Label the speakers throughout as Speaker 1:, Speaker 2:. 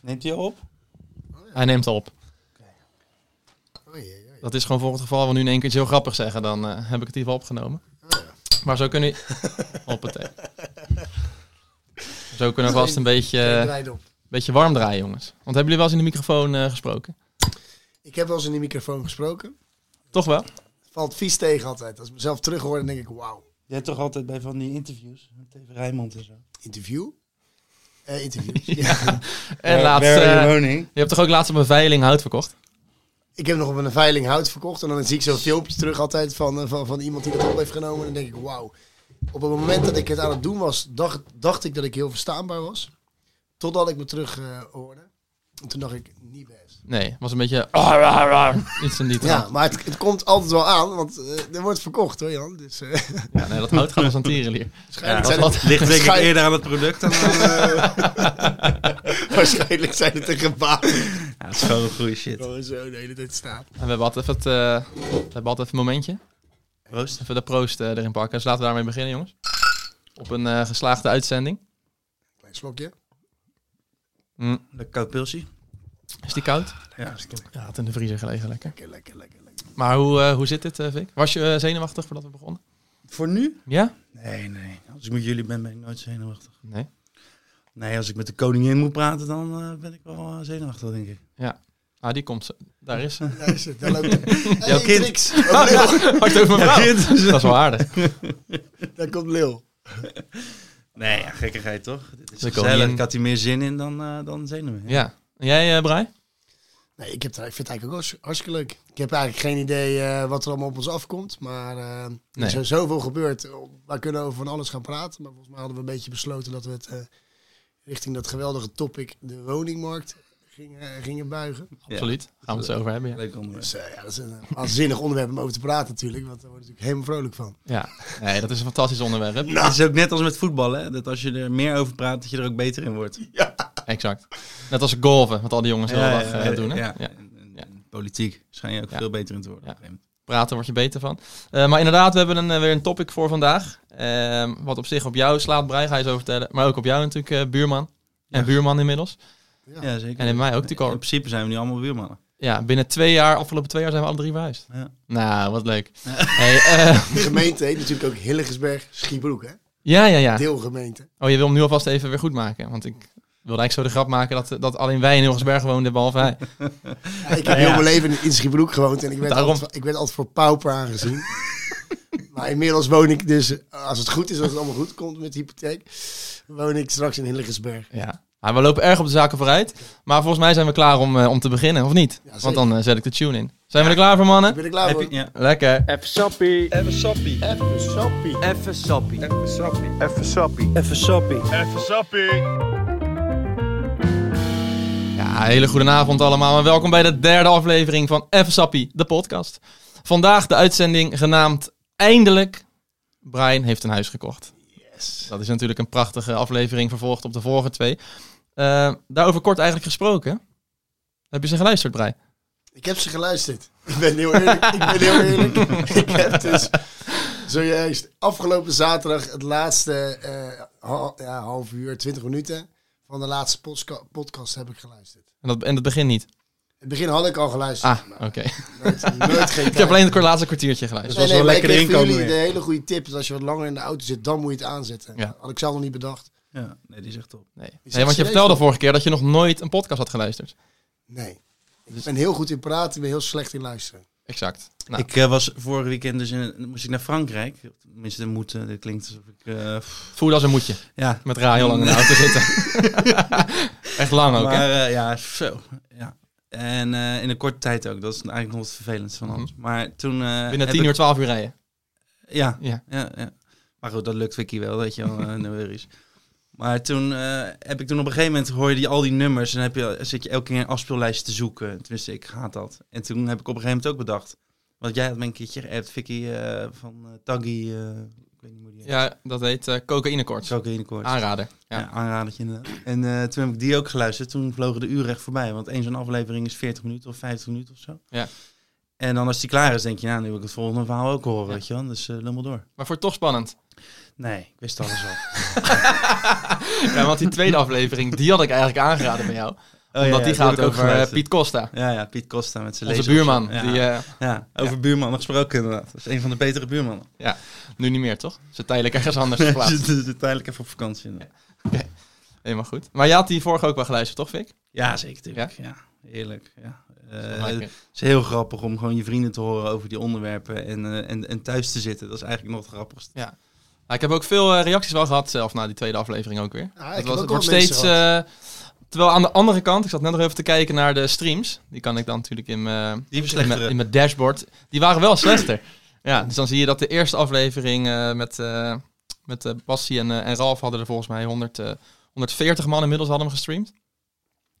Speaker 1: Neemt hij al op?
Speaker 2: Hij neemt al op.
Speaker 3: Oh, jee, jee.
Speaker 2: Dat is gewoon voor het geval we nu in één keer iets heel grappig zeggen. Dan eh, heb ik het in ieder geval opgenomen.
Speaker 3: Oh
Speaker 2: Maar zo kunnen... Hoppatee. zo kunnen we vast een beetje,
Speaker 3: Geen
Speaker 2: eh,
Speaker 3: draai op.
Speaker 2: beetje warm draaien, jongens. Want hebben jullie wel eens in de microfoon eh, gesproken?
Speaker 3: Ik heb wel eens in die microfoon gesproken.
Speaker 2: Toch wel?
Speaker 3: Valt vies tegen altijd. Als ik mezelf terughoor, dan denk ik, wauw.
Speaker 1: Jij hebt toch altijd bij van die interviews? Met TV Rijnmond en zo.
Speaker 3: Interview? Eh, interview. ja.
Speaker 2: En laatst...
Speaker 1: Where are
Speaker 2: eh,
Speaker 1: you running?
Speaker 2: je hebt toch ook laatst op een veiling hout verkocht?
Speaker 3: Ik heb nog op een veiling hout verkocht. En dan zie ik zo'n filmpje terug altijd van, eh, van, van iemand die dat op heeft genomen. En dan denk ik, wauw. Op het moment dat ik het aan het doen was, dacht, dacht ik dat ik heel verstaanbaar was. Totdat ik me terug eh, hoorde. En toen dacht ik, niet best.
Speaker 2: Nee, was een beetje... ah, Iets in die
Speaker 3: Ja,
Speaker 2: trant.
Speaker 3: maar het, het komt altijd wel aan, want eh, er wordt verkocht hoor Jan. Dus, eh,
Speaker 2: Ja. nee, dat hout gaat als een tierenlier.
Speaker 3: waarschijnlijk,
Speaker 2: dat
Speaker 3: zijn
Speaker 2: was-
Speaker 3: het,
Speaker 4: Ligt denk ik
Speaker 3: Schijn-
Speaker 4: eerder aan het product dan aan eh,
Speaker 3: waarschijnlijk zijn het een gebaar.
Speaker 4: ja, het is gewoon goede shit.
Speaker 3: Oh, zo de hele tijd staan.
Speaker 2: En we hebben altijd even, het, eh, we hebben altijd even een momentje.
Speaker 4: Proost.
Speaker 2: Even de proost eh, erin pakken. Dus laten we daarmee beginnen, jongens. Op een eh, geslaagde uitzending.
Speaker 3: Klein slokje.
Speaker 2: Mm,
Speaker 4: Een koud pilsje.
Speaker 2: Is die koud?
Speaker 4: Ja,
Speaker 2: Ja, het in de vriezer gelegen, lekker.
Speaker 3: Lekker, lekker, lekker. lekker.
Speaker 2: Maar hoe, eh, hoe zit dit, eh, Vic? Was je eh, zenuwachtig voordat we begonnen?
Speaker 4: Voor nu?
Speaker 2: Ja?
Speaker 4: Nee, nee. Als ik met jullie ben, ben ik nooit zenuwachtig.
Speaker 2: Nee.
Speaker 4: Nee, als ik met de koningin moet praten, dan eh, ben ik wel eh, zenuwachtig, denk ik.
Speaker 2: Ah, die komt. zo. Daar is ze.
Speaker 3: Daar is het, daar loopt het.
Speaker 2: Jouw
Speaker 3: Hey,
Speaker 2: kind.
Speaker 3: Trix. Oh, Lil.
Speaker 2: Wacht over mijn vrouw. Dat is wel aardig.
Speaker 3: Daar komt Lil.
Speaker 4: Nee, ja, gekkigheid toch? Dit is
Speaker 2: De
Speaker 4: gezellig.
Speaker 2: koningin.
Speaker 4: Ik had hier meer zin in dan, eh dan zenuwen. Ja.
Speaker 2: Ja. En jij, eh Brai?
Speaker 3: Nee, ik, heb, daar- ik vind het eigenlijk ook wel hartstikke leuk. Ik heb eigenlijk geen idee eh, wat er allemaal op ons afkomt. Maar eh, er
Speaker 2: Nee.
Speaker 3: is zo- zoveel gebeurd. We kunnen over van alles gaan praten. Maar volgens mij hadden we een beetje besloten dat we het eh, richting dat geweldige topic, de woningmarkt, gingen, gingen buigen.
Speaker 2: Absoluut. Gaan we het zo over hebben, ja.
Speaker 4: Leuk onderwerp.
Speaker 3: Dus eh, ja, dat is een waanzinnig onderwerp om over te praten natuurlijk. Want daar word ik natuurlijk helemaal vrolijk van.
Speaker 2: Ja. Nee, dat is een fantastisch onderwerp.
Speaker 4: Het is ook net als met voetballen, hè? dat als je er meer over praat, dat je er ook beter in wordt.
Speaker 2: Exact. Net als golven, wat al die jongens de hele dag eh,
Speaker 4: ja,
Speaker 2: doen, hè?
Speaker 4: ja.
Speaker 2: Ja.
Speaker 4: En- en- en Politiek schijn je ook
Speaker 2: Ja.
Speaker 4: veel beter in te worden.
Speaker 2: Ja.
Speaker 4: op een gegeven
Speaker 2: praten word je beter van. Eh, maar inderdaad, we hebben een, eh, weer een topic voor vandaag. Ehm, wat op zich op jou slaat, Brei, ga je zo vertellen. Maar ook op jou natuurlijk, eh, buurman. En
Speaker 4: Ja.
Speaker 2: buurman inmiddels.
Speaker 3: Ja.
Speaker 4: moment. Ja, zeker.
Speaker 2: En in mij ook, die
Speaker 4: in
Speaker 2: korp.
Speaker 4: principe zijn we nu allemaal buurmannen.
Speaker 2: Ja, binnen twee jaar, afgelopen twee jaar zijn we alle drie verhuisd.
Speaker 4: Ja.
Speaker 2: Nou, wat leuk. Hey, eh,
Speaker 3: De gemeente heet natuurlijk ook Hilligersberg Schiebroek, hè?
Speaker 2: ja, ja, ja.
Speaker 3: Deelgemeente.
Speaker 2: Oh, je wil hem nu alvast even weer goed maken. Want ik wilde eigenlijk zo de grap maken dat, dat alleen wij in Hilgersberg woonden, behalve hij.
Speaker 3: Ja, ik heb heel mijn leven in Schiebroek gewoond en ik werd,
Speaker 2: Daarom.
Speaker 3: altijd, ik werd altijd voor pauper aangezien. maar inmiddels woon ik dus, als het goed is, als het allemaal goed komt met de hypotheek, woon ik straks in Hilligersberg.
Speaker 2: Ja. Maar we lopen erg op de zaken vooruit. Maar volgens mij zijn we klaar om, eh, om te beginnen, of niet?
Speaker 3: zeker.
Speaker 2: Want dan eh, zet ik de tune in. Zijn we er klaar voor, mannen?
Speaker 3: Ik ben er klaar
Speaker 4: Heb
Speaker 3: voor.
Speaker 4: je, ja.
Speaker 2: Lekker.
Speaker 5: Even sappie.
Speaker 4: Even sappie.
Speaker 3: Even sappie.
Speaker 5: Even sappie.
Speaker 4: Even sappie.
Speaker 5: Even sappie. Even sappie.
Speaker 2: Ja, hele goede avond allemaal en welkom bij de derde aflevering van Even Sappie, de podcast. Vandaag de uitzending genaamd Eindelijk, Brian heeft een huis gekocht.
Speaker 3: Yes.
Speaker 2: Dat is natuurlijk een prachtige aflevering vervolgd op de vorige twee. Eh, daarover kort eigenlijk gesproken. Heb je ze geluisterd, Brian?
Speaker 3: Ik heb ze geluisterd. Ik ben heel eerlijk. ik ben heel eerlijk. ik heb dus zojuist afgelopen zaterdag het laatste eh, hal- ja, half uur, twintig minuten van de laatste postka- podcast heb ik geluisterd.
Speaker 2: En dat, en dat begin niet.
Speaker 3: In het begin had ik al geluisterd.
Speaker 2: Ah, oké.
Speaker 3: maar nooit, nooit geen
Speaker 2: Ik heb
Speaker 3: tijd.
Speaker 2: alleen het kort- laatste kwartiertje geluisterd.
Speaker 4: was wel
Speaker 3: maar
Speaker 4: lekker
Speaker 3: ik kreeg
Speaker 4: inkomen
Speaker 3: van jullie
Speaker 4: weer.
Speaker 3: de hele goede tip. Dat als je wat langer in de auto zit, dan moet je het aanzetten.
Speaker 2: Ja.
Speaker 3: Had ik zelf nog niet bedacht.
Speaker 4: Ja, nee, die zegt top.
Speaker 2: Nee.
Speaker 3: echt
Speaker 2: nee, want je
Speaker 3: serieus,
Speaker 2: vertelde
Speaker 3: man.
Speaker 2: vorige keer dat je nog nooit een podcast had geluisterd.
Speaker 3: Nee. Ik
Speaker 2: Dus-
Speaker 3: ben heel goed in praten, ik ben heel slecht in luisteren.
Speaker 2: Exact. Nou,
Speaker 4: Ik eh, was vorig weekend dus in, moest ik naar Frankrijk. Tenminste, moeten. Dit klinkt alsof ik... eh, pff,
Speaker 2: voel je als een moedje.
Speaker 4: ja,
Speaker 2: Met Rai al lang in de auto zitten. Echt lang ook, hè?
Speaker 4: maar eh, ja, zo. Ja. En eh, in een korte tijd ook. Dat is eigenlijk nog het vervelendste van alles. Maar toen... eh,
Speaker 2: Mhm. Binnen
Speaker 4: heb
Speaker 2: 10
Speaker 4: ik-
Speaker 2: uur, 12 uur rijden.
Speaker 4: Ja,
Speaker 2: Ja.
Speaker 4: ja, ja. Maar goed, dat lukt Vicky wel, dat je wel eh, neur is. Maar toen eh, heb ik toen op een gegeven moment hoor je die, al die nummers en heb je, zit je elke keer een afspeellijst te zoeken. Tenminste, ik haat dat. En toen heb ik op een gegeven moment ook bedacht. Want jij had me een keertje geappt, Vicky eh, van eh, Taggy. eh, ik weet niet hoe die heet.
Speaker 2: Ja, dat heet eh cocaïnekort.
Speaker 4: Zo kun je in de koorts.
Speaker 2: Aanrader.
Speaker 4: Ja,
Speaker 2: Ja.
Speaker 4: aanradertje inderdaad. En eh, toen heb ik die ook geluisterd. Toen vlogen de uren echt voorbij. Want één zo'n aflevering is 40 minuten of 50 minuten of zo.
Speaker 2: Ja.
Speaker 4: En dan als die klaar is, denk je, nou, nu wil ik het volgende verhaal ook horen,
Speaker 2: Ja.
Speaker 4: weet je wel. Dus eh lummel door.
Speaker 2: Maar voor toch spannend.
Speaker 4: Nee, ik wist alles al.
Speaker 2: Ja, want die tweede aflevering, die had ik eigenlijk aangeraden bij jou.
Speaker 4: Oh ja,
Speaker 2: Omdat
Speaker 4: ja, daar
Speaker 2: die gaat
Speaker 4: hebben we het
Speaker 2: over
Speaker 4: over
Speaker 2: eh,
Speaker 4: gehad.
Speaker 2: Piet Costa.
Speaker 4: Ja, ja, Piet Costa met zijn
Speaker 2: Onze
Speaker 4: laser.
Speaker 2: buurman.
Speaker 4: Ja,
Speaker 2: Die, eh,
Speaker 4: ja, over buurmannen gesproken inderdaad. Dat is een van de betere buurmannen.
Speaker 2: nu niet meer, toch? Ze tijdelijk ergens anders
Speaker 4: Ze
Speaker 2: geplaatst.
Speaker 4: zitten dus, tijdelijk even op vakantie. inderdaad.
Speaker 2: Helemaal goed. Maar je had die vorige ook wel geluisterd, toch, Vic?
Speaker 4: Ja, zeker. Tuurlijk. Ja? heerlijk. Ja. Eh,
Speaker 2: Lijkt me.
Speaker 4: het is heel grappig om gewoon je vrienden te horen over die onderwerpen en, eh, en, en thuis te zitten. Dat is eigenlijk nog het grappigste.
Speaker 2: Maar ik heb ook veel eh, reacties wel gehad zelf na die tweede aflevering ook weer.
Speaker 3: Ja,
Speaker 2: het
Speaker 3: ik heb
Speaker 2: was,
Speaker 3: ook
Speaker 2: het
Speaker 3: wel
Speaker 2: wordt
Speaker 3: mensen
Speaker 2: steeds... eh, terwijl aan de andere kant, ik zat net nog even te kijken naar de streams. Die kan ik dan natuurlijk in mijn,
Speaker 4: Die
Speaker 2: in mijn,
Speaker 4: verslechteren.
Speaker 2: in mijn dashboard. Die waren wel slechter. Ja, dus dan zie je dat de eerste aflevering eh, met, eh met eh, Bassie en, eh, en Ralf hadden er volgens mij 100, eh, 140 man inmiddels hadden hem gestreamd.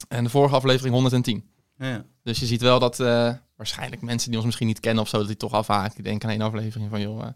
Speaker 2: En de vorige aflevering 110.
Speaker 4: Ja, ja.
Speaker 2: Dus je ziet wel dat eh, waarschijnlijk mensen die ons misschien niet kennen of zo, dat die toch afhaken. Die denken aan één aflevering van, joh, eh,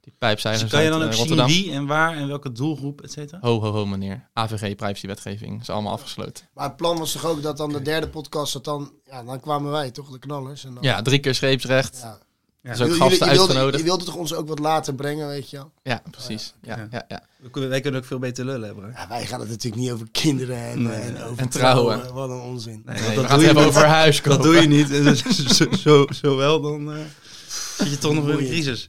Speaker 2: die pijpcijfers
Speaker 4: Dus kan je dan
Speaker 2: uit,
Speaker 4: ook
Speaker 2: eh,
Speaker 4: zien
Speaker 2: Rotterdam.
Speaker 4: wie en waar en welke doelgroep, et cetera?
Speaker 2: Ho, ho, ho, meneer. AVG, privacywetgeving, is allemaal afgesloten.
Speaker 3: Maar het plan was toch ook dat dan de derde podcast, dat dan, ja, dan kwamen wij toch, de knallers. En dan,
Speaker 2: Ja, drie keer scheepsrecht.
Speaker 3: ja.
Speaker 2: Dus
Speaker 4: Ja.
Speaker 2: ook
Speaker 3: Jullie-
Speaker 2: gasten
Speaker 3: je wilde,
Speaker 2: uitgenodigd.
Speaker 3: Je wilde toch ons ook wat later brengen, weet je wel?
Speaker 2: Ja, precies. Ja, ja.
Speaker 4: Ja.
Speaker 2: Ja,
Speaker 4: We kunnen- Wij kunnen ook veel beter lullen hebben. hè?
Speaker 3: Ja, wij gaan het natuurlijk niet over kinderen en,
Speaker 4: Nee.
Speaker 3: en over
Speaker 2: En trouwen.
Speaker 3: Wat een onzin.
Speaker 4: Nee,
Speaker 2: Nee,
Speaker 4: want
Speaker 2: we
Speaker 4: dat doe
Speaker 2: gaan het
Speaker 4: je
Speaker 2: hebben
Speaker 4: niet.
Speaker 2: over huis
Speaker 4: Dat doe je niet. En dus zo, zo, zo, zo wel, dan eh, zit je toch nog in een
Speaker 3: Boeiend.
Speaker 4: crisis.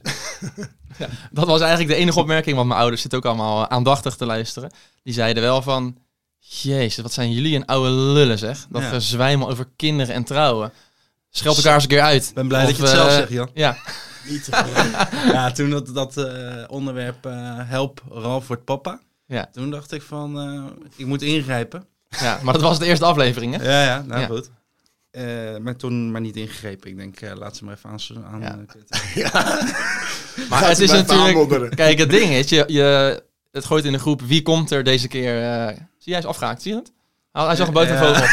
Speaker 2: Dat was eigenlijk de enige opmerking, want mijn ouders zitten ook allemaal eh, aandachtig te luisteren. Die zeiden wel van, jezus, wat zijn jullie een oude lullen zeg. Dat
Speaker 4: Ja.
Speaker 2: gezwijmel over kinderen en trouwen. Scheld elkaar eens een keer uit.
Speaker 4: Ik ben blij
Speaker 2: Of,
Speaker 4: dat je het zelf
Speaker 2: eh,
Speaker 4: zegt, Jan.
Speaker 2: Ja,
Speaker 3: Niet te geloven.
Speaker 4: Ja, toen dat, dat eh, onderwerp eh, help Ralf wordt papa.
Speaker 2: Ja.
Speaker 4: Toen dacht ik van, eh, ik moet ingrijpen.
Speaker 2: ja, maar dat was de eerste aflevering, hè?
Speaker 4: Ja, ja, nou
Speaker 2: Ja.
Speaker 4: goed. Eh, maar toen maar niet ingegrepen. Ik denk, eh, laat ze maar even aan. aan
Speaker 2: Ja.
Speaker 4: eh,
Speaker 2: Maar
Speaker 3: Gaat
Speaker 2: het
Speaker 3: ze
Speaker 2: is
Speaker 3: maar even
Speaker 2: natuurlijk...
Speaker 3: aanmodderen.
Speaker 2: Kijk, het ding is, je, je, het gooit in de groep wie komt er deze keer... eh, zie jij is afgehaakt, zie je het? Hij hij zag een buitenvogel.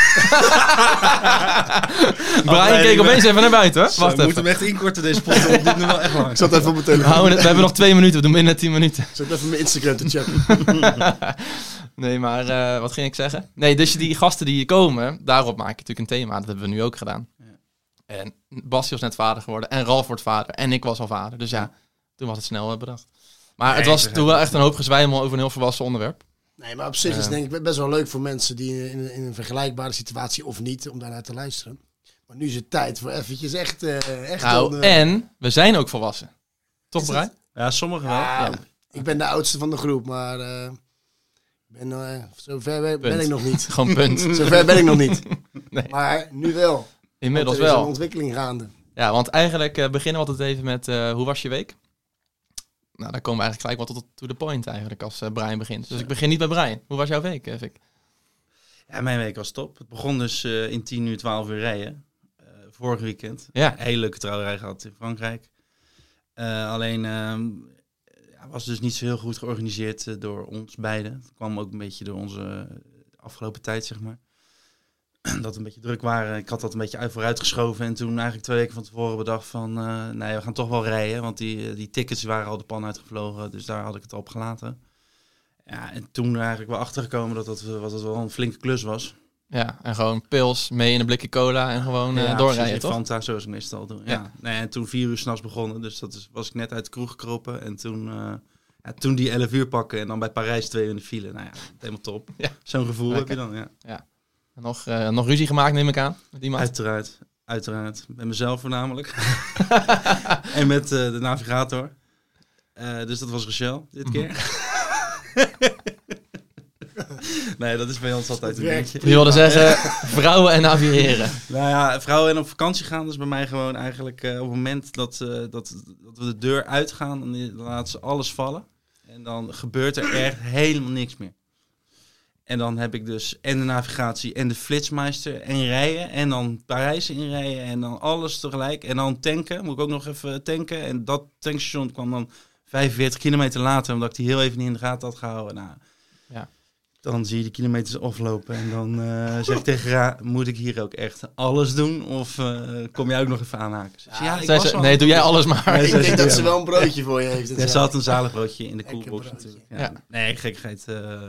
Speaker 2: Brian keek opeens even naar buiten. hoor.
Speaker 4: Zo,
Speaker 2: Wacht
Speaker 4: we moeten
Speaker 2: even.
Speaker 4: hem echt inkorten, deze podcast. want dit nu wel echt
Speaker 3: Ik
Speaker 4: lang.
Speaker 3: zat even op mijn
Speaker 2: We,
Speaker 3: telefoon.
Speaker 2: houden het- we hebben nog twee minuten, we doen binnen tien minuten.
Speaker 3: Ik zat even mijn Instagram te checken.
Speaker 2: nee, maar eh, wat ging ik zeggen? Nee, dus die gasten die hier komen, daarop maak je natuurlijk een thema. Dat hebben we nu ook gedaan.
Speaker 4: Ja.
Speaker 2: En Basje was net vader geworden. En Ralf wordt vader. En ik was al vader. Dus ja, toen was het snel eh, bedacht. Maar
Speaker 4: Nee,
Speaker 2: het was
Speaker 4: begrijp
Speaker 2: toen wel echt een hoop gezwijmel over een heel volwassen onderwerp.
Speaker 3: Nee, maar op zich is het denk ik best wel leuk voor mensen die in, in een vergelijkbare situatie of niet, om daarnaar te luisteren. Maar nu is het tijd voor eventjes echt, eh echt
Speaker 2: Nou,
Speaker 3: onderwerp.
Speaker 2: en we zijn ook volwassen. Toch,
Speaker 3: Is
Speaker 2: Brian?
Speaker 4: Ja, sommigen wel.
Speaker 3: Ja,
Speaker 4: Ja.
Speaker 3: Ik ben de oudste van de groep, maar eh, ik ben, eh, zover ben, ben
Speaker 2: Punt.
Speaker 3: ik nog niet.
Speaker 2: Gewoon punt.
Speaker 3: zover ben ik nog niet.
Speaker 2: Nee.
Speaker 3: Maar nu wel. want
Speaker 2: Inmiddels
Speaker 3: er is een
Speaker 2: wel.
Speaker 3: ontwikkeling gaande.
Speaker 2: Ja, want eigenlijk eh, beginnen we altijd even met eh, hoe was je week? Nou, dan komen we eigenlijk gelijk wat tot to the point eigenlijk als eh, Brian begint. Dus ik begin niet bij Brian. Hoe was jouw week, eh, Vic?
Speaker 4: Ja, mijn week was top. Het begon dus eh, in 10 uur, 12 uur rijden. eh vorig weekend.
Speaker 2: Ja.
Speaker 4: Een hele leuke trouwerij gehad in Frankrijk. Eh, alleen ehm, ja, was dus niet zo heel goed georganiseerd eh, door ons beiden. Het kwam ook een beetje door onze afgelopen tijd, zeg maar. Dat we een beetje druk waren. Ik had dat een beetje uit vooruit geschoven. En toen eigenlijk twee weken van tevoren bedacht van... eh, nee, we gaan toch wel rijden. Want die, eh, die tickets waren al de pan uitgevlogen. Dus daar had ik het al op gelaten. Ja, en toen er eigenlijk wel achtergekomen dat dat, eh, wat dat wel een flinke klus was.
Speaker 2: Ja, en gewoon pils, mee in een blikje cola en gewoon eh,
Speaker 4: Ja,
Speaker 2: doorrijden,
Speaker 4: precies,
Speaker 2: toch?
Speaker 4: Fanta, zoals ik meestal doe. Ja.
Speaker 2: Ja.
Speaker 4: Nee, en toen vier uur s'nachts begonnen, dus dat is, was ik net uit de kroeg gekroppen. En toen, eh, ja, toen die 11 uur pakken en dan bij Parijs twee uur in de file. Nou ja, helemaal top.
Speaker 2: Ja.
Speaker 4: Zo'n gevoel heb
Speaker 2: Lekker.
Speaker 4: je dan, ja.
Speaker 2: En Nog, eh, nog ruzie gemaakt, neem ik aan, met iemand.
Speaker 4: Uiteraard, uiteraard. Met mezelf voornamelijk. en met eh, de navigator. Eh, dus dat was Rochelle dit keer.
Speaker 2: Mhm.
Speaker 4: nee, dat is bij ons altijd een
Speaker 3: Het werkt.
Speaker 4: beetje.
Speaker 2: Je wilde zeggen, vrouwen en navigeren.
Speaker 4: Nou ja, vrouwen en op vakantie gaan is bij mij gewoon eigenlijk eh, op het moment dat, eh, dat, dat we de deur uitgaan, dan laat ze alles vallen. En dan gebeurt er echt helemaal niks meer. En dan heb ik dus en de navigatie en de flitsmeister en rijden en dan Parijs inrijden en dan alles tegelijk. En dan tanken, moet ik ook nog even tanken. En dat tankstation kwam dan 45 kilometer later, omdat ik die heel even niet in de gaten had gehouden. Nou,
Speaker 2: Ja.
Speaker 4: Dan zie je de kilometers aflopen en dan eh, zeg ik tegen Ra, moet ik hier ook echt alles doen of eh, kom jij ook nog even aanhaken? Ze zei, Ja, ik
Speaker 2: Ah, Zij
Speaker 4: was
Speaker 2: ze-
Speaker 4: al-
Speaker 2: nee, doe jij alles maar.
Speaker 4: Nee,
Speaker 3: Ik
Speaker 4: zo is
Speaker 3: denk
Speaker 4: het
Speaker 3: dat
Speaker 4: wel.
Speaker 3: ze wel een broodje voor je heeft. en
Speaker 4: Er
Speaker 3: zo.
Speaker 4: zat een zalig broodje in de
Speaker 3: Lekker
Speaker 4: koelbox
Speaker 3: broodje.
Speaker 4: natuurlijk. Ja.
Speaker 2: Ja.
Speaker 4: Nee, gekheid. eh.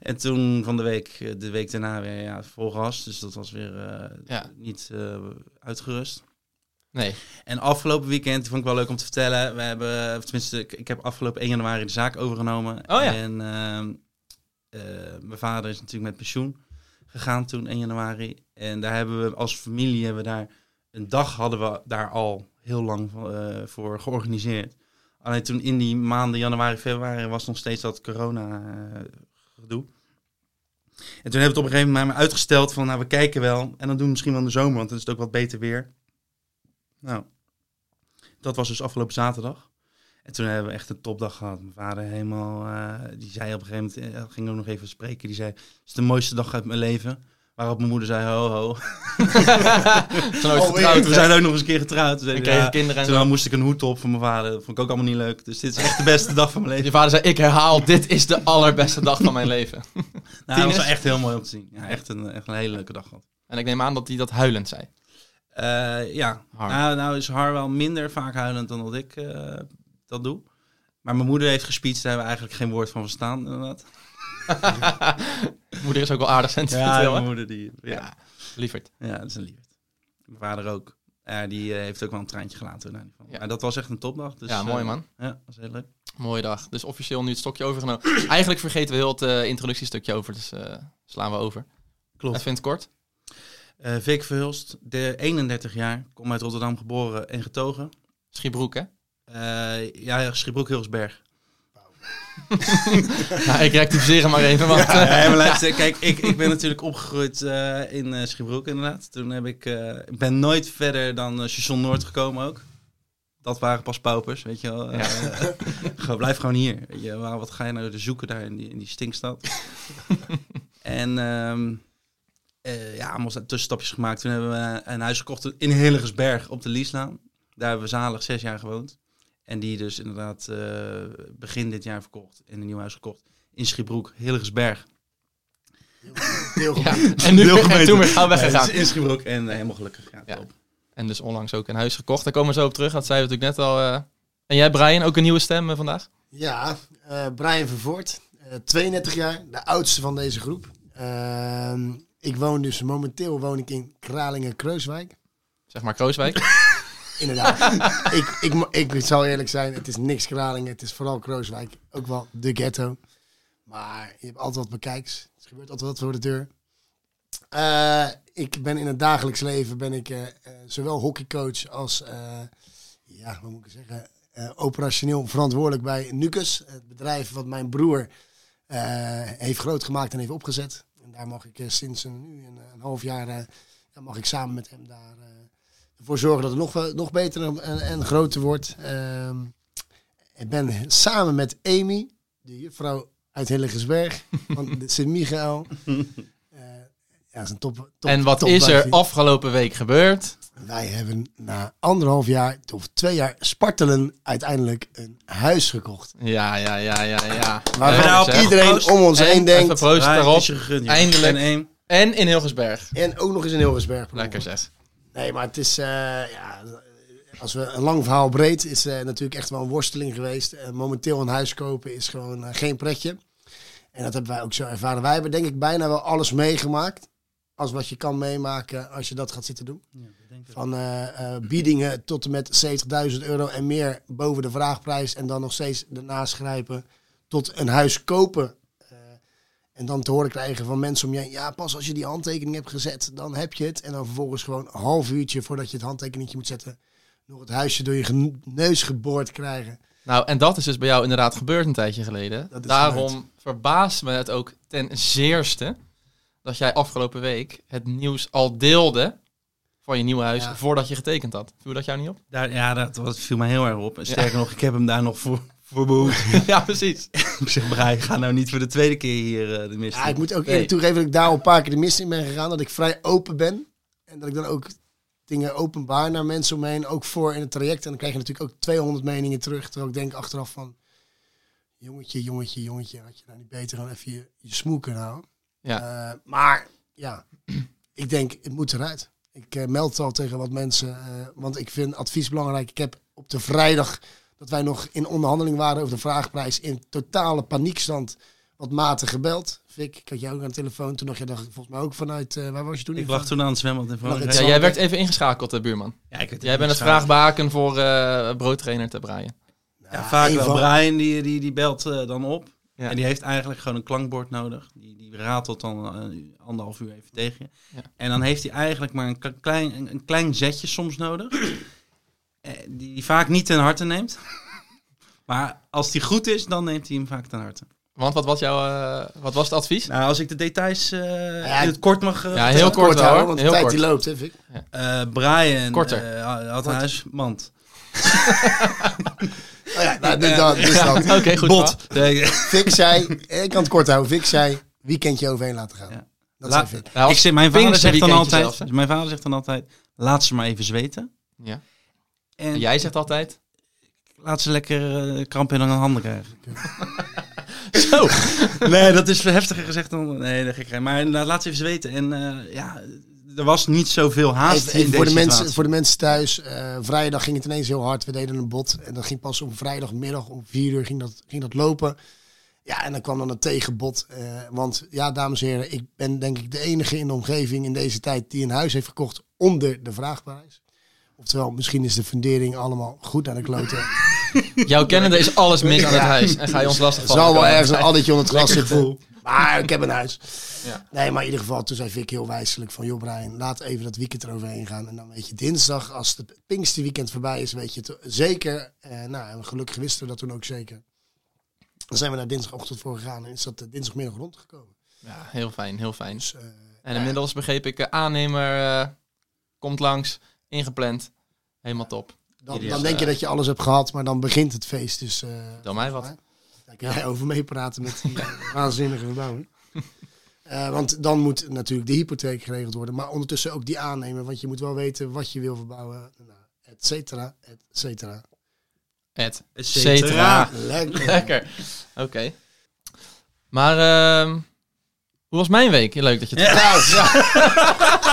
Speaker 4: en toen van de week, eh, de week daarna weer ja, vol gas, dus dat was weer eh,
Speaker 2: Ja.
Speaker 4: niet eh, uitgerust.
Speaker 2: Nee,
Speaker 4: En afgelopen weekend, vond ik wel leuk om te vertellen. We hebben, of tenminste, ik, ik heb afgelopen 1 januari de zaak overgenomen.
Speaker 2: Oh ja.
Speaker 4: En ehm, eh, mijn vader is natuurlijk met pensioen gegaan toen 1 januari. En daar hebben we als familie hebben we daar een dag hadden we daar al heel lang eh, voor georganiseerd. Alleen toen in die maanden januari, februari was nog steeds dat corona eh, gedoe. En toen hebben we het op een gegeven moment maar uitgesteld van, nou we kijken wel. En dan doen we misschien wel in de zomer, want dan is het ook wat beter weer. Nou, dat was dus afgelopen zaterdag. En toen hebben we echt een topdag gehad. Mijn vader helemaal, eh, die zei op een gegeven moment, eh, ging ook nog even spreken. Die zei, het is de mooiste dag uit mijn leven. Waarop mijn moeder zei, ho ho.
Speaker 2: Toen ook
Speaker 3: Oh,
Speaker 2: getrouwd.
Speaker 4: We zijn ook nog eens een keer getrouwd. Toen zei
Speaker 2: En
Speaker 4: hij,
Speaker 2: kregen
Speaker 4: ja,
Speaker 2: kinderen en
Speaker 4: toen
Speaker 2: zo.
Speaker 4: dan moest ik een hoed op van mijn vader. Dat vond ik ook allemaal niet leuk. Dus dit is echt de beste dag van mijn
Speaker 2: Je
Speaker 4: leven.
Speaker 2: vader zei, ik herhaal, dit is de allerbeste dag van mijn leven.
Speaker 4: Nou, dat was
Speaker 2: tieners?
Speaker 4: echt heel mooi om te zien. Ja, echt, een, echt een hele leuke dag gehad.
Speaker 2: En ik neem aan dat hij dat huilend zei.
Speaker 4: Eh, ja,
Speaker 2: Har.
Speaker 4: Nou, nou is Har wel minder vaak huilend dan dat ik eh, dat doe. Maar mijn moeder heeft gespeeched, daar hebben we eigenlijk geen woord van verstaan. Inderdaad.
Speaker 2: Moeder is ook wel aardig
Speaker 4: Ja,
Speaker 2: sentimenteel,
Speaker 4: mijn
Speaker 2: hè?
Speaker 4: moeder die... Ja,
Speaker 2: Ja, lieverd.
Speaker 4: ja dat is een liefde. Mijn vader ook. Eh, die eh, heeft ook wel een traantje gelaten. in ieder geval.
Speaker 2: Ja.
Speaker 4: Maar dat was echt een topdag. Dus,
Speaker 2: ja, mooi
Speaker 4: eh,
Speaker 2: man.
Speaker 4: Ja, dat was heel leuk.
Speaker 2: Mooie dag. Dus officieel nu het stokje overgenomen. Eigenlijk vergeten we heel het eh, introductiestukje over, dus eh, slaan we over.
Speaker 4: Klopt.
Speaker 2: Even in het kort.
Speaker 4: Eh Vic Verhulst, de 31 jaar, kom uit Rotterdam geboren en getogen.
Speaker 2: Schiebroek, hè?
Speaker 4: Eh, ja, Schiebroek-Hilsberg.
Speaker 2: nou, ik rectificeer hem maar even, want... eh,
Speaker 4: Ja, maar luister, kijk, ik, ik ben natuurlijk opgegroeid eh, in eh Schiebroek inderdaad. Toen heb ik, eh, ik ben nooit verder dan eh, Station Noord gekomen ook. Dat waren pas paupers, weet je wel.
Speaker 2: Ja.
Speaker 4: Eh, gewoon, blijf gewoon hier. Weet je, waar, wat ga je nou zoeken daar in die, in die stinkstad? en ehm eh, ja, allemaal zijn tussenstapjes gemaakt. Toen hebben we een huis gekocht in Hillegersberg op de Lieslaan. Daar hebben we zalig zes jaar gewoond. En die dus inderdaad eh, begin dit jaar verkocht. En een nieuw huis gekocht in Schiebroek, Hillegersberg.
Speaker 3: Heel goed.
Speaker 2: ja, en nu en
Speaker 4: gemeten.
Speaker 2: toen weer gaan we
Speaker 4: Ja, het
Speaker 2: weggegaan.
Speaker 4: is in Schiebroek en eh, helemaal gelukkig. Ja,
Speaker 2: Ja.
Speaker 4: top.
Speaker 2: En dus onlangs ook een huis gekocht. Daar komen we zo op terug. Dat zeiden we natuurlijk net al. eh. En jij, Brian, ook een nieuwe stem eh, vandaag?
Speaker 3: Ja, eh, Brian Vervoort, eh 32 jaar, de oudste van deze groep. Ehm, ik woon dus momenteel woon ik in Kralingen-Kreuswijk.
Speaker 2: Zeg maar Krooswijk.
Speaker 3: Inderdaad. ik, ik, mo- ik zal eerlijk zijn, het is niks Kralingen, het is vooral Krooswijk. Ook wel de ghetto. Maar je hebt altijd wat bekijks. dus Er gebeurt altijd wat voor de deur. Eh, ik ben in het dagelijks leven ben ik eh, eh, zowel hockeycoach als, eh, ja, wat moet ik zeggen, eh, operationeel verantwoordelijk bij Nucus. Het bedrijf wat mijn broer eh, heeft grootgemaakt en heeft opgezet. En daar mag ik eh, sinds een, nu een, een half jaar, eh, ja, mag ik samen met hem daar... eh, ervoor zorgen dat het nog, wel- nog beter en- en, en groter wordt. Ehm, ik ben samen met Amy, de juffrouw uit Hilligersberg, van de Sint-Michael. Eh, ja, dat is een top, top
Speaker 2: en wat
Speaker 3: top
Speaker 2: is er
Speaker 3: wijfie.
Speaker 2: afgelopen week gebeurd?
Speaker 3: Wij hebben na anderhalf jaar of twee jaar spartelen uiteindelijk een huis gekocht.
Speaker 2: Ja, ja, ja, ja, ja.
Speaker 3: Waarvan
Speaker 2: Leuk,
Speaker 4: nou,
Speaker 2: zeg.
Speaker 3: iedereen
Speaker 4: proost.
Speaker 3: om ons heen
Speaker 2: en, even
Speaker 3: denkt.
Speaker 2: proost
Speaker 4: Ja, het
Speaker 2: daarop.
Speaker 4: is je gegund, joh.
Speaker 2: Eindelijk.
Speaker 4: En één.
Speaker 2: En in Hilgersberg.
Speaker 3: En ook nog eens in Hilligersberg.
Speaker 2: Lekker zeg.
Speaker 3: Nee, maar het is, eh, ja, als we een lang verhaal breed, is eh, natuurlijk echt wel een worsteling geweest. Eh, momenteel een huis kopen is gewoon eh, geen pretje. En dat hebben wij ook zo ervaren. Wij hebben denk ik bijna wel alles meegemaakt. Als wat je kan meemaken als je dat gaat zitten doen.
Speaker 4: Ja, ik denk het.
Speaker 3: Van eh, eh, biedingen tot en met 70.000 euro en meer boven de vraagprijs. En dan nog steeds erna schrijpen tot een huis kopen. Eh, en dan te horen krijgen van mensen om je heen, Ja, pas als je die handtekening hebt gezet, dan heb je het. En dan vervolgens gewoon een half uurtje voordat je het handtekeningetje moet zetten. Nog het huisje door je gen- neus geboord krijgen.
Speaker 2: Nou, en dat is dus bij jou inderdaad gebeurd een tijdje geleden.
Speaker 3: Dat is
Speaker 2: Daarom verbaast me het ook ten zeerste dat jij afgelopen week het nieuws al deelde van je nieuwe huis
Speaker 3: Ja.
Speaker 2: voordat je getekend had. Viel dat jou niet op?
Speaker 4: Daar, ja, dat was, viel mij heel erg op. En sterker nog, ik heb hem daar nog voor, voor behoed.
Speaker 2: ja, precies.
Speaker 4: ik zeg, Brian, ga nou niet voor de tweede keer hier eh, de mist
Speaker 3: Ja,
Speaker 4: in.
Speaker 3: ik moet ook
Speaker 2: Nee.
Speaker 3: eerlijk toegeven dat ik daar al een paar keer de mist in ben gegaan. Dat ik vrij open ben. En dat ik dan ook dingen openbaar naar mensen om me heen. Ook voor in het traject. En dan krijg je natuurlijk ook 200 meningen terug. Terwijl ik denk achteraf van... Jongetje, jongetje, jongetje. Had je nou niet beter dan even je, je smoel kunnen houden?
Speaker 2: Ja.
Speaker 3: Eh, maar ja, ik denk, het moet eruit. Ik eh, meld het al tegen wat mensen, eh, want ik vind advies belangrijk. Ik heb op de vrijdag dat wij nog in onderhandeling waren over de vraagprijs in totale paniekstand wat maten gebeld. Fik, ik had jou ook aan de telefoon. Toen dacht je, dacht, ik volgens mij ook vanuit, eh, waar was je toen?
Speaker 4: Ik lag toen aan het zwembad in Frankrijk.
Speaker 2: ja,
Speaker 3: zal
Speaker 2: jij
Speaker 3: ik-
Speaker 2: werd even ingeschakeld, hè, buurman.
Speaker 4: Ja, ik weet
Speaker 2: Jij bent het
Speaker 4: niet waar.
Speaker 2: vraagbaken voor eh, broodtrainer te braaien.
Speaker 4: Ja, vaak
Speaker 3: een
Speaker 4: wel.
Speaker 3: van-
Speaker 4: Brian, die, die, die belt eh, dan op.
Speaker 2: Ja.
Speaker 4: En die heeft eigenlijk gewoon een klankbord nodig. Die, die ratelt dan eh, anderhalf uur even tegen je.
Speaker 2: Ja.
Speaker 4: En dan heeft hij eigenlijk maar een k- klein, een, een klein zetje soms nodig. Eh, die, die vaak niet ten harte neemt. maar als die goed is, dan neemt hij hem vaak ten harte.
Speaker 2: Want wat was, jouw, eh, wat was het advies?
Speaker 4: Nou, als ik de details eh,
Speaker 3: ja,
Speaker 4: in het kort mag... eh,
Speaker 2: Ja, heel kort, wel,
Speaker 3: houden,
Speaker 2: hoor.
Speaker 3: want de
Speaker 2: Heel
Speaker 3: tijd
Speaker 2: kort.
Speaker 3: die loopt, hè, Vic.
Speaker 4: eh, Brian
Speaker 2: Korter.
Speaker 4: eh, had een huismand.
Speaker 3: Oh ja, nou, dus dat, dus dat.
Speaker 2: Oké, goed.
Speaker 4: Bot.
Speaker 2: verhaal.
Speaker 4: Nee,
Speaker 3: Vic zei, eh, ik kan het kort houden. Vic zei, weekendje overheen laten gaan.
Speaker 4: Ja.
Speaker 3: Dat
Speaker 4: La-
Speaker 3: zei Vic.
Speaker 2: Nou,
Speaker 4: ik zeg, mijn, vader
Speaker 2: Pinkster
Speaker 4: zegt dan
Speaker 2: weekendje
Speaker 4: altijd,
Speaker 2: zelfs, hè?
Speaker 4: mijn vader zegt dan altijd, laat ze maar even zweten.
Speaker 2: Ja.
Speaker 4: En
Speaker 2: En jij zegt altijd...
Speaker 4: laat ze lekker eh, kramp in hun handen krijgen.
Speaker 2: Zo!
Speaker 4: nee, dat is heftiger gezegd dan... Nee, dat gekheid. Maar inderdaad, laat ze even zweten. En eh, ja, er was niet zoveel haast
Speaker 3: Even-
Speaker 4: in
Speaker 3: even voor, de
Speaker 4: deze
Speaker 3: mensen,
Speaker 4: situatie.
Speaker 3: voor de mensen thuis, eh, vrijdag ging het ineens heel hard. We deden een bot en dat ging pas om vrijdagmiddag om vier uur ging dat, ging dat lopen. Ja, en dan kwam dan het tegenbod. eh, want ja, dames en heren, ik ben denk ik de enige in de omgeving in deze tijd die een huis heeft gekocht onder de vraagprijs. Oftewel, misschien is de fundering allemaal goed naar de kloten.
Speaker 2: Jouw kennende is alles mis aan het huis. En ga je ons lastig
Speaker 3: Het zal
Speaker 2: vallen.
Speaker 3: wel ergens een addertje onder het gras zitten. Maar ik heb een huis. Nee, maar in ieder geval, toen zei Vic heel wijselijk van... joh Brian, laat even dat weekend eroverheen gaan. En dan weet je dinsdag, als het Pinkster weekend voorbij is, weet je het zeker. Eh, nou, en gelukkig wisten we dat toen ook zeker. Dan zijn we naar dinsdagochtend voor gegaan en is dat eh, dinsdagmiddag rondgekomen.
Speaker 2: Ja, heel fijn, heel fijn.
Speaker 3: Dus eh,
Speaker 2: En inmiddels begreep ik, eh, aannemer eh, komt langs, ingepland. Helemaal top.
Speaker 3: dan,
Speaker 2: Jullie
Speaker 3: dan
Speaker 2: is,
Speaker 3: denk je
Speaker 2: eh,
Speaker 3: dat je alles hebt gehad, maar dan begint het feest. Dus eh,
Speaker 2: Dan mij wat.
Speaker 3: Daar kan jij over meepraten met die waanzinnige verbouwing. Eh, want dan moet natuurlijk de hypotheek geregeld worden. Maar ondertussen ook die aannemer. Want je moet wel weten wat je wil verbouwen. Nou, et cetera, et cetera.
Speaker 2: Et
Speaker 4: Et
Speaker 2: cetera.
Speaker 3: Lekker.
Speaker 2: Ah. Lekker. Oké. Maar ehm, hoe was mijn week? Leuk dat je het
Speaker 3: Nou, ja,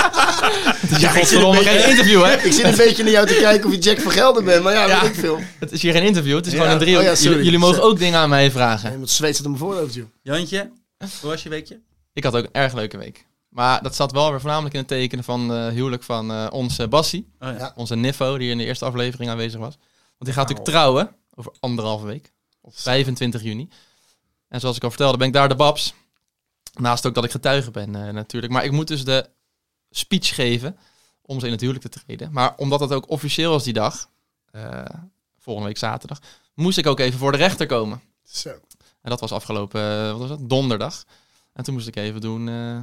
Speaker 2: ja, godverdomme geen interview, hè?
Speaker 3: ik zit een beetje naar jou te kijken of je Jack van Gelder bent. Maar ja,
Speaker 2: Ja.
Speaker 3: weet ik veel.
Speaker 2: Het is hier geen interview, het is
Speaker 3: Ja.
Speaker 2: gewoon een driehoek.
Speaker 3: Oh ja, sorry.
Speaker 2: jullie, jullie mogen
Speaker 3: Sorry.
Speaker 2: ook dingen aan mij vragen.
Speaker 3: Nee, want zweet zit op mijn voorhoofd, joh.
Speaker 4: Jantje, hoe was je weekje?
Speaker 2: Ik had ook een erg leuke week. Maar dat zat wel weer voornamelijk in het teken van eh huwelijk van eh, onze Bassie.
Speaker 4: Oh, ja.
Speaker 3: Ja.
Speaker 2: Onze Niffo, die in de eerste aflevering aanwezig was. Want die gaat
Speaker 4: Wauw.
Speaker 2: natuurlijk trouwen over anderhalve week. Op 25 juni. En zoals ik al vertelde, ben ik daar de babs. Naast ook dat ik getuige ben eh, natuurlijk. Maar ik moet dus de speech geven om ze in het huwelijk te treden. Maar omdat dat ook officieel was die dag, eh, volgende week zaterdag, moest ik ook even voor de rechter komen.
Speaker 3: Zo.
Speaker 2: En dat was afgelopen, eh, wat was dat, donderdag. En toen moest ik even doen eh,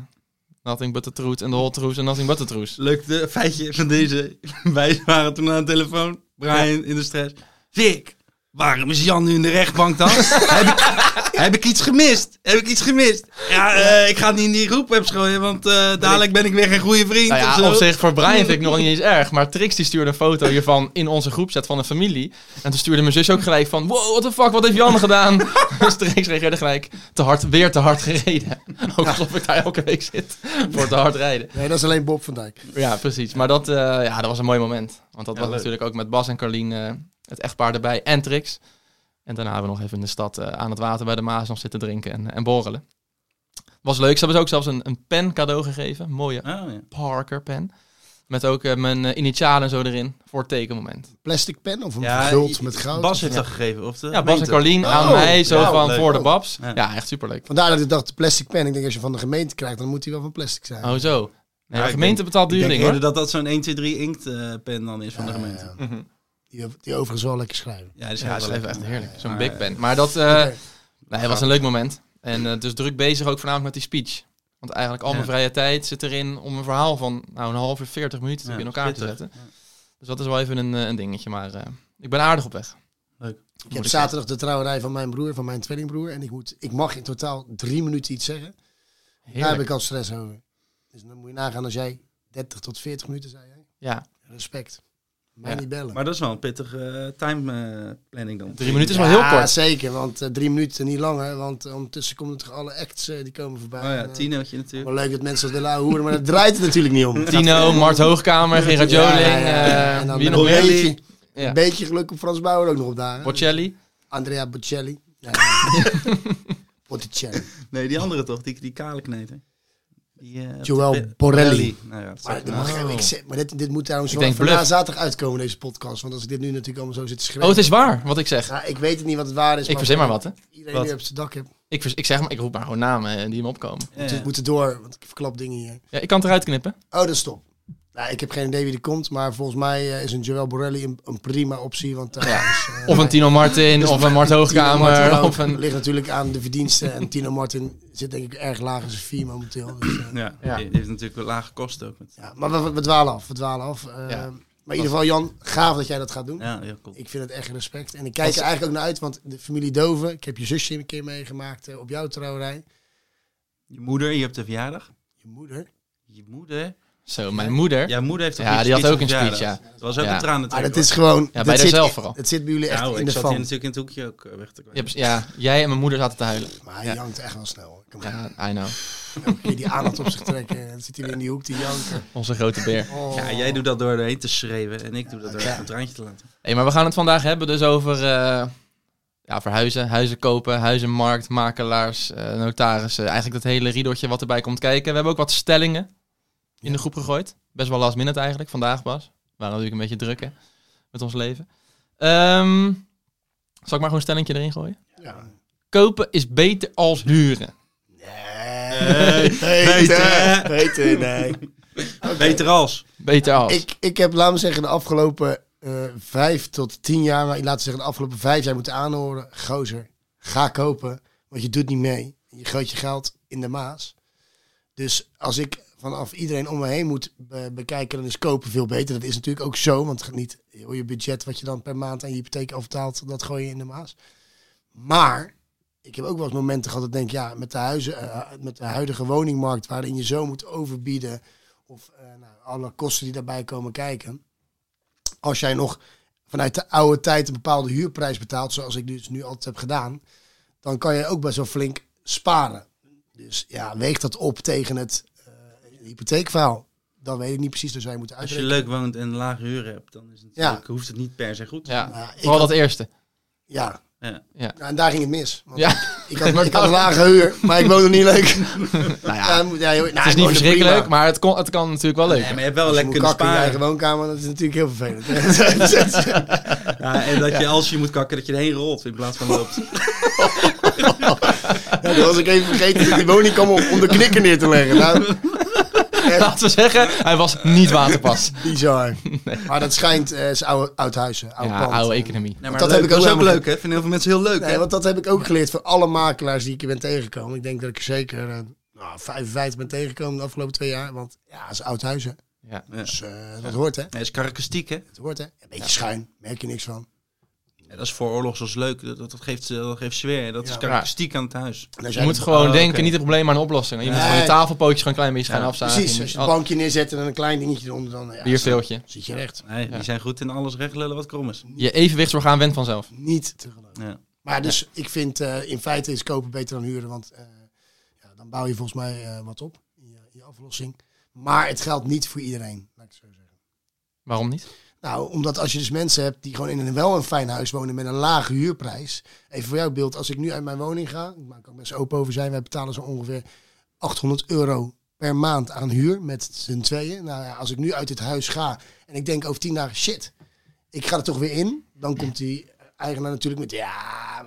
Speaker 2: Nothing But The Truth en The Whole Truth en Nothing But The Truth.
Speaker 4: Leuk de feitje van deze. Wij waren toen aan de telefoon. Brian in de stress. Vic, waarom is Jan nu in de rechtbank dan? heb, ik, heb ik iets gemist? Heb ik iets gemist? Ja, eh, ik ga het niet in die groep web gooien, want eh, dadelijk ben ik weer geen goede vriend
Speaker 2: Nou
Speaker 4: of
Speaker 2: ja,
Speaker 4: zo.
Speaker 2: op zich, voor Brian vind ik nog niet eens erg. Maar Trix die stuurde een foto hiervan in onze groepset van een familie. En toen stuurde mijn zus ook gelijk van... Wow, what the fuck, wat heeft Jan gedaan? dus Trix reageerde gelijk, te hard, weer te hard gereden. ook alsof ik daar elke week zit voor te hard rijden.
Speaker 3: Nee, dat is alleen Bob van Dijk.
Speaker 2: Ja, precies. Maar dat, eh, ja, dat was een mooi moment. Want dat
Speaker 4: Ja,
Speaker 2: was
Speaker 4: leuk.
Speaker 2: natuurlijk ook met Bas en Carlien eh, het echtpaar erbij en Trix. En daarna hebben we nog even in de stad eh, aan het water bij de Maas nog zitten drinken en, en borrelen. Was leuk. Ze hebben ze ook zelfs een, een pen cadeau gegeven. Een mooie
Speaker 4: Oh, ja.
Speaker 2: Parker pen. Met ook eh, mijn eh, initialen en zo erin voor het tekenmoment.
Speaker 3: Plastic pen of een
Speaker 4: Ja,
Speaker 3: guld met goud.
Speaker 4: Bas heeft dat gegeven. Of de
Speaker 2: Ja, Bas en
Speaker 4: gemeente.
Speaker 2: Carlien aan
Speaker 3: Oh,
Speaker 2: mij zo
Speaker 4: ja,
Speaker 2: van
Speaker 4: leuk.
Speaker 2: voor de babs.
Speaker 4: Ja.
Speaker 2: Ja, echt superleuk.
Speaker 3: Vandaar dat ik dacht, plastic pen. Ik denk, als je van de gemeente krijgt, dan moet hij wel van plastic zijn.
Speaker 2: Oh zo. Nee,
Speaker 4: Ja,
Speaker 2: de
Speaker 4: ik
Speaker 2: gemeente betaalt
Speaker 4: Ik
Speaker 2: duur
Speaker 4: denk
Speaker 2: ding hoor.
Speaker 4: eerder dat dat zo'n 1, 2, 3 inktpen eh, pen dan is van de
Speaker 3: Ja,
Speaker 4: gemeente.
Speaker 3: ja.
Speaker 2: Mhm.
Speaker 3: Die, die overigens wel lekker schrijven.
Speaker 4: Ja, dat is
Speaker 2: Dus Ja,
Speaker 4: heel
Speaker 2: ze
Speaker 4: leuk.
Speaker 2: leven echt heerlijk. Zo'n
Speaker 4: Maar,
Speaker 2: big
Speaker 4: eh,
Speaker 2: pen. Maar dat... eh,
Speaker 3: Oké.
Speaker 2: Nee, het was een leuk moment. En eh, dus druk bezig ook voornamelijk met die speech. Want eigenlijk al mijn
Speaker 4: Ja.
Speaker 2: vrije tijd zit erin om een verhaal van nou, een half uur, veertig minuten
Speaker 4: Ja,
Speaker 2: in elkaar te
Speaker 4: pittig.
Speaker 2: zetten. Dus dat is wel even een, eh, een dingetje. Maar eh, ik ben aardig op weg.
Speaker 3: Ik heb zaterdag de trouwerij van mijn broer, van mijn tweelingbroer. En ik, moet, ik mag in totaal drie minuten iets zeggen. Daar heb
Speaker 2: Heerlijk.
Speaker 3: ik al stress over. Dus dan moet je nagaan als jij 30 tot 40 minuten zei. Jij.
Speaker 2: Ja,
Speaker 3: Respect. Mij
Speaker 2: Ja,
Speaker 3: niet bellen.
Speaker 4: Maar dat is wel een pittige timeplanning planning dan.
Speaker 2: drie minuten is wel heel
Speaker 3: Ja,
Speaker 2: kort.
Speaker 3: zeker. Want eh, drie minuten niet langer. Want eh, ondertussen komen toch alle acts eh, die komen voorbij.
Speaker 4: Oh ja,
Speaker 3: En, eh,
Speaker 4: Tinootje natuurlijk.
Speaker 3: wel leuk dat mensen dat willen hoeren, maar dat draait het natuurlijk niet om.
Speaker 2: Tino, Mart Hoogkamer, Gerard
Speaker 3: Ja,
Speaker 2: Joling,
Speaker 3: ja, ja, ja. En
Speaker 2: eh,
Speaker 3: dan
Speaker 2: wie
Speaker 3: met
Speaker 2: nog
Speaker 3: een
Speaker 2: meer?
Speaker 3: beetje,
Speaker 2: Ja.
Speaker 3: een beetje geluk op Frans Bauer ook nog op dagen.
Speaker 2: Bocelli.
Speaker 3: Andrea Bocelli. Ja. Botticelli.
Speaker 4: Nee, die andere toch, die, die kale kneter. Die, eh,
Speaker 3: Joël
Speaker 4: Pe-
Speaker 3: Borrelli.
Speaker 4: Nou ja, dat zou
Speaker 3: Maar, dit,
Speaker 4: kunnen.
Speaker 3: mag,
Speaker 2: Oh.
Speaker 3: ik zeg- maar dit, dit moet trouwens
Speaker 2: Ik
Speaker 3: wel
Speaker 2: denk
Speaker 3: voor
Speaker 2: bluff.
Speaker 3: na zaterdag uitkomen, deze podcast. Want als ik dit nu natuurlijk allemaal zo zit te
Speaker 2: Oh,
Speaker 3: schrijven.
Speaker 2: het is waar wat ik zeg.
Speaker 3: Nou, ik weet het niet wat het waar is.
Speaker 2: Ik verzin maar wat, hè?
Speaker 3: Iedereen
Speaker 4: Wat?
Speaker 3: die op zijn dak hebt,
Speaker 2: Ik, vers- ik zeg maar, ik roep maar gewoon namen eh, die me opkomen.
Speaker 4: Ja, ja.
Speaker 3: moet moeten door. Want ik verklap dingen hier.
Speaker 2: Ja, ik kan het eruit knippen.
Speaker 3: Oh, dat stop. Nou, ik heb geen idee wie er komt, maar volgens mij eh, is een Joël Borrelli een, een prima optie. Want, daar is, eh,
Speaker 2: Of een Tino Martin, of een Mart
Speaker 3: Tino Martin
Speaker 2: Hoogkamer,
Speaker 3: ook.
Speaker 2: of een...
Speaker 3: ligt natuurlijk aan de verdiensten. En Tino Martin zit denk ik erg laag in zijn vier momenteel. Dus, eh,
Speaker 4: Ja,
Speaker 2: Ja.
Speaker 4: die heeft natuurlijk wel lage kosten ook.
Speaker 3: ja. Maar we, we- we dwalen af, we dwalen af. Eh,
Speaker 2: Ja.
Speaker 3: Maar in ieder geval, Jan, gaaf dat jij dat gaat doen.
Speaker 4: Ja, heel cool.
Speaker 3: Ik vind het echt respect. En ik kijk er eigenlijk ook naar uit, want de familie Doven, ik heb je zusje een keer meegemaakt eh, op jouw trouwerij.
Speaker 4: Je moeder, je hebt de verjaardag.
Speaker 3: Je moeder.
Speaker 4: Je moeder.
Speaker 2: Zo, mijn moeder.
Speaker 4: Jouw moeder heeft toch
Speaker 2: Ja,
Speaker 4: een
Speaker 2: die had
Speaker 4: speech
Speaker 2: ook
Speaker 4: op
Speaker 2: een
Speaker 4: verjaardag?
Speaker 2: speech,
Speaker 4: Dat was ook
Speaker 2: Ja.
Speaker 4: een tranen
Speaker 3: Maar dat is gewoon...
Speaker 2: bij
Speaker 3: dat zit
Speaker 2: haarzelf
Speaker 3: in-
Speaker 2: vooral.
Speaker 3: Het zit bij jullie echt
Speaker 4: Nou,
Speaker 3: in
Speaker 4: ik
Speaker 3: de
Speaker 4: zat hier
Speaker 3: van.
Speaker 4: natuurlijk in het hoekje ook eh, weg te
Speaker 2: Je
Speaker 4: kwijt.
Speaker 2: hebt- Ja, jij en mijn moeder zaten te huilen.
Speaker 3: Maar hij
Speaker 2: Ja.
Speaker 3: jankt echt wel snel. hoor. Kom maar.
Speaker 2: Ja, I know.
Speaker 3: Elke keer die aandacht op zich trekken. En dan zit hij weer in die hoek te janken.
Speaker 2: Onze grote beer.
Speaker 3: Oh.
Speaker 4: Ja, jij doet dat door erheen te schreeuwen en ik doe dat door
Speaker 3: Ja.
Speaker 4: even een traantje te laten.
Speaker 2: Hey, maar we gaan het vandaag hebben dus over eh, ja, verhuizen, huizen kopen, huizenmarkt, makelaars, eh, notarissen. Eigenlijk dat hele riedotje wat erbij komt kijken. We hebben ook wat stellingen in de groep gegooid. Best wel last minute eigenlijk, vandaag Bas. We waren natuurlijk een beetje druk hè, met ons leven. Ehm, zal ik maar gewoon een stellingje erin gooien?
Speaker 3: Ja.
Speaker 2: Kopen is beter als huren.
Speaker 3: Nee, beter,
Speaker 4: beter.
Speaker 3: beter, nee.
Speaker 4: Beter als.
Speaker 2: Beter als.
Speaker 3: Ik, ik heb, laten we zeggen, de afgelopen eh, vijf tot tien jaar, maar laten we zeggen de afgelopen vijf jaar moeten aanhoren. Gozer, ga kopen, want je doet niet mee. Je gooit je geld in de maas. Dus als ik vanaf iedereen om me heen moet eh, bekijken, dan is kopen veel beter. Dat is natuurlijk ook zo, want het gaat niet heel je budget wat je dan per maand aan je hypotheek overtaalt, dat gooi je in de maas. Maar ik heb ook wel eens momenten gehad dat ik denk, ja, met de, huizen, eh, met de huidige woningmarkt waarin je zo moet overbieden of eh, nou, alle kosten die daarbij komen kijken. Als jij nog vanuit de oude tijd een bepaalde huurprijs betaalt, zoals ik dus nu altijd heb gedaan, dan kan je ook best wel flink sparen. Dus ja, weeg dat op tegen het eh hypotheekverhaal. Dan weet ik niet precies, dus wij moeten
Speaker 4: Als je
Speaker 3: uitrekenen.
Speaker 4: leuk woont en lage huren hebt, dan is het natuurlijk, hoeft het niet per se goed.
Speaker 2: ja,
Speaker 3: Maar ik
Speaker 2: vooral
Speaker 3: had-
Speaker 2: dat eerste.
Speaker 3: Ja.
Speaker 4: Ja.
Speaker 2: Ja.
Speaker 3: Nou, en daar ging het mis. Want
Speaker 2: Ja.
Speaker 3: ik, had, ik had een lage huur, maar ik woonde niet leuk.
Speaker 2: Nou ja,
Speaker 3: Ja, moet- ja, joh, nou,
Speaker 2: het is
Speaker 3: ik
Speaker 2: niet
Speaker 3: woonde
Speaker 2: verschrikkelijk,
Speaker 3: prima.
Speaker 2: maar het, kon, het kan natuurlijk wel leuk.
Speaker 4: Nee, maar je hebt wel
Speaker 3: Als je
Speaker 4: lekker
Speaker 3: moet
Speaker 4: kunnen
Speaker 3: kakken in je eigen
Speaker 4: sparen.
Speaker 3: woonkamer, dat is natuurlijk heel vervelend.
Speaker 4: Ja, en dat je als je moet kakken, dat je erheen rolt in plaats van loopt.
Speaker 3: Ja, dat was ik even vergeten dat die woning kwam om, om de knikker neer te leggen. Nou, echt
Speaker 2: Laten we zeggen, hij was niet waterpas.
Speaker 3: bizar. Maar dat schijnt, eh is oude, oud huizen, oud
Speaker 2: ja,
Speaker 3: pand.
Speaker 2: oude economie.
Speaker 4: Nee, maar
Speaker 3: Dat
Speaker 4: leuk,
Speaker 3: heb ik ook
Speaker 4: dat is ook
Speaker 3: helemaal
Speaker 4: leuk, hè? Vinden heel veel mensen heel leuk,
Speaker 3: Nee,
Speaker 4: hè?
Speaker 3: want dat heb ik ook geleerd voor alle makelaars die ik hier ben tegengekomen. Ik denk dat ik er zeker eh, nou, 55 ben tegengekomen de afgelopen twee jaar. Want ja, het is oud huizen.
Speaker 2: Ja.
Speaker 4: Ja.
Speaker 3: Dus eh, dat hoort, hè?
Speaker 4: Nee, is karakteristiek, hè?
Speaker 3: Dat hoort, hè? Een beetje schuin, merk je niks van.
Speaker 4: Ja, dat is voor oorlogs als leuk. Dat, dat, dat geeft, eh, dat geeft sfeer. Dat
Speaker 3: Ja.
Speaker 4: is karakteristiek aan het huis.
Speaker 3: En als
Speaker 2: Je
Speaker 3: jij
Speaker 2: moet
Speaker 3: de-
Speaker 2: gewoon
Speaker 4: oh,
Speaker 2: denken,
Speaker 4: oké.
Speaker 2: niet het probleem, maar een oplossing. Je moet
Speaker 3: Nee.
Speaker 2: gewoon je tafelpootjes gewoon een klein beetje gaan
Speaker 4: Ja,
Speaker 2: afzagen.
Speaker 3: Precies,
Speaker 2: Je
Speaker 3: als je
Speaker 2: moet- Oh,
Speaker 3: het bankje neerzet en dan een klein dingetje eronder, dan eh, ja,
Speaker 2: al- Bierveeltje.
Speaker 3: zit je recht.
Speaker 4: Nee,
Speaker 2: Ja.
Speaker 4: Die zijn goed in alles recht lullen wat krom is.
Speaker 2: Je evenwichtsorgaan went vanzelf.
Speaker 3: Niet te geloven.
Speaker 4: Ja.
Speaker 3: Maar dus ik vind eh, in feite is kopen beter dan huren, want eh, ja, dan bouw je volgens mij eh, wat op in je, in je aflossing. Maar het geldt niet voor iedereen, laat ik het zo zeggen.
Speaker 2: Waarom niet?
Speaker 3: Nou, omdat als je dus mensen hebt die gewoon in een wel een fijn huis wonen met een lage huurprijs. Even voor jouw beeld, als ik nu uit mijn woning ga, ik maak ook best open over zijn, wij betalen zo ongeveer 800 euro per maand aan huur met z'n tweeën. Nou ja, als ik nu uit dit huis ga en ik denk over tien dagen, shit, ik ga er toch weer in. Dan komt die eigenaar natuurlijk met, ja,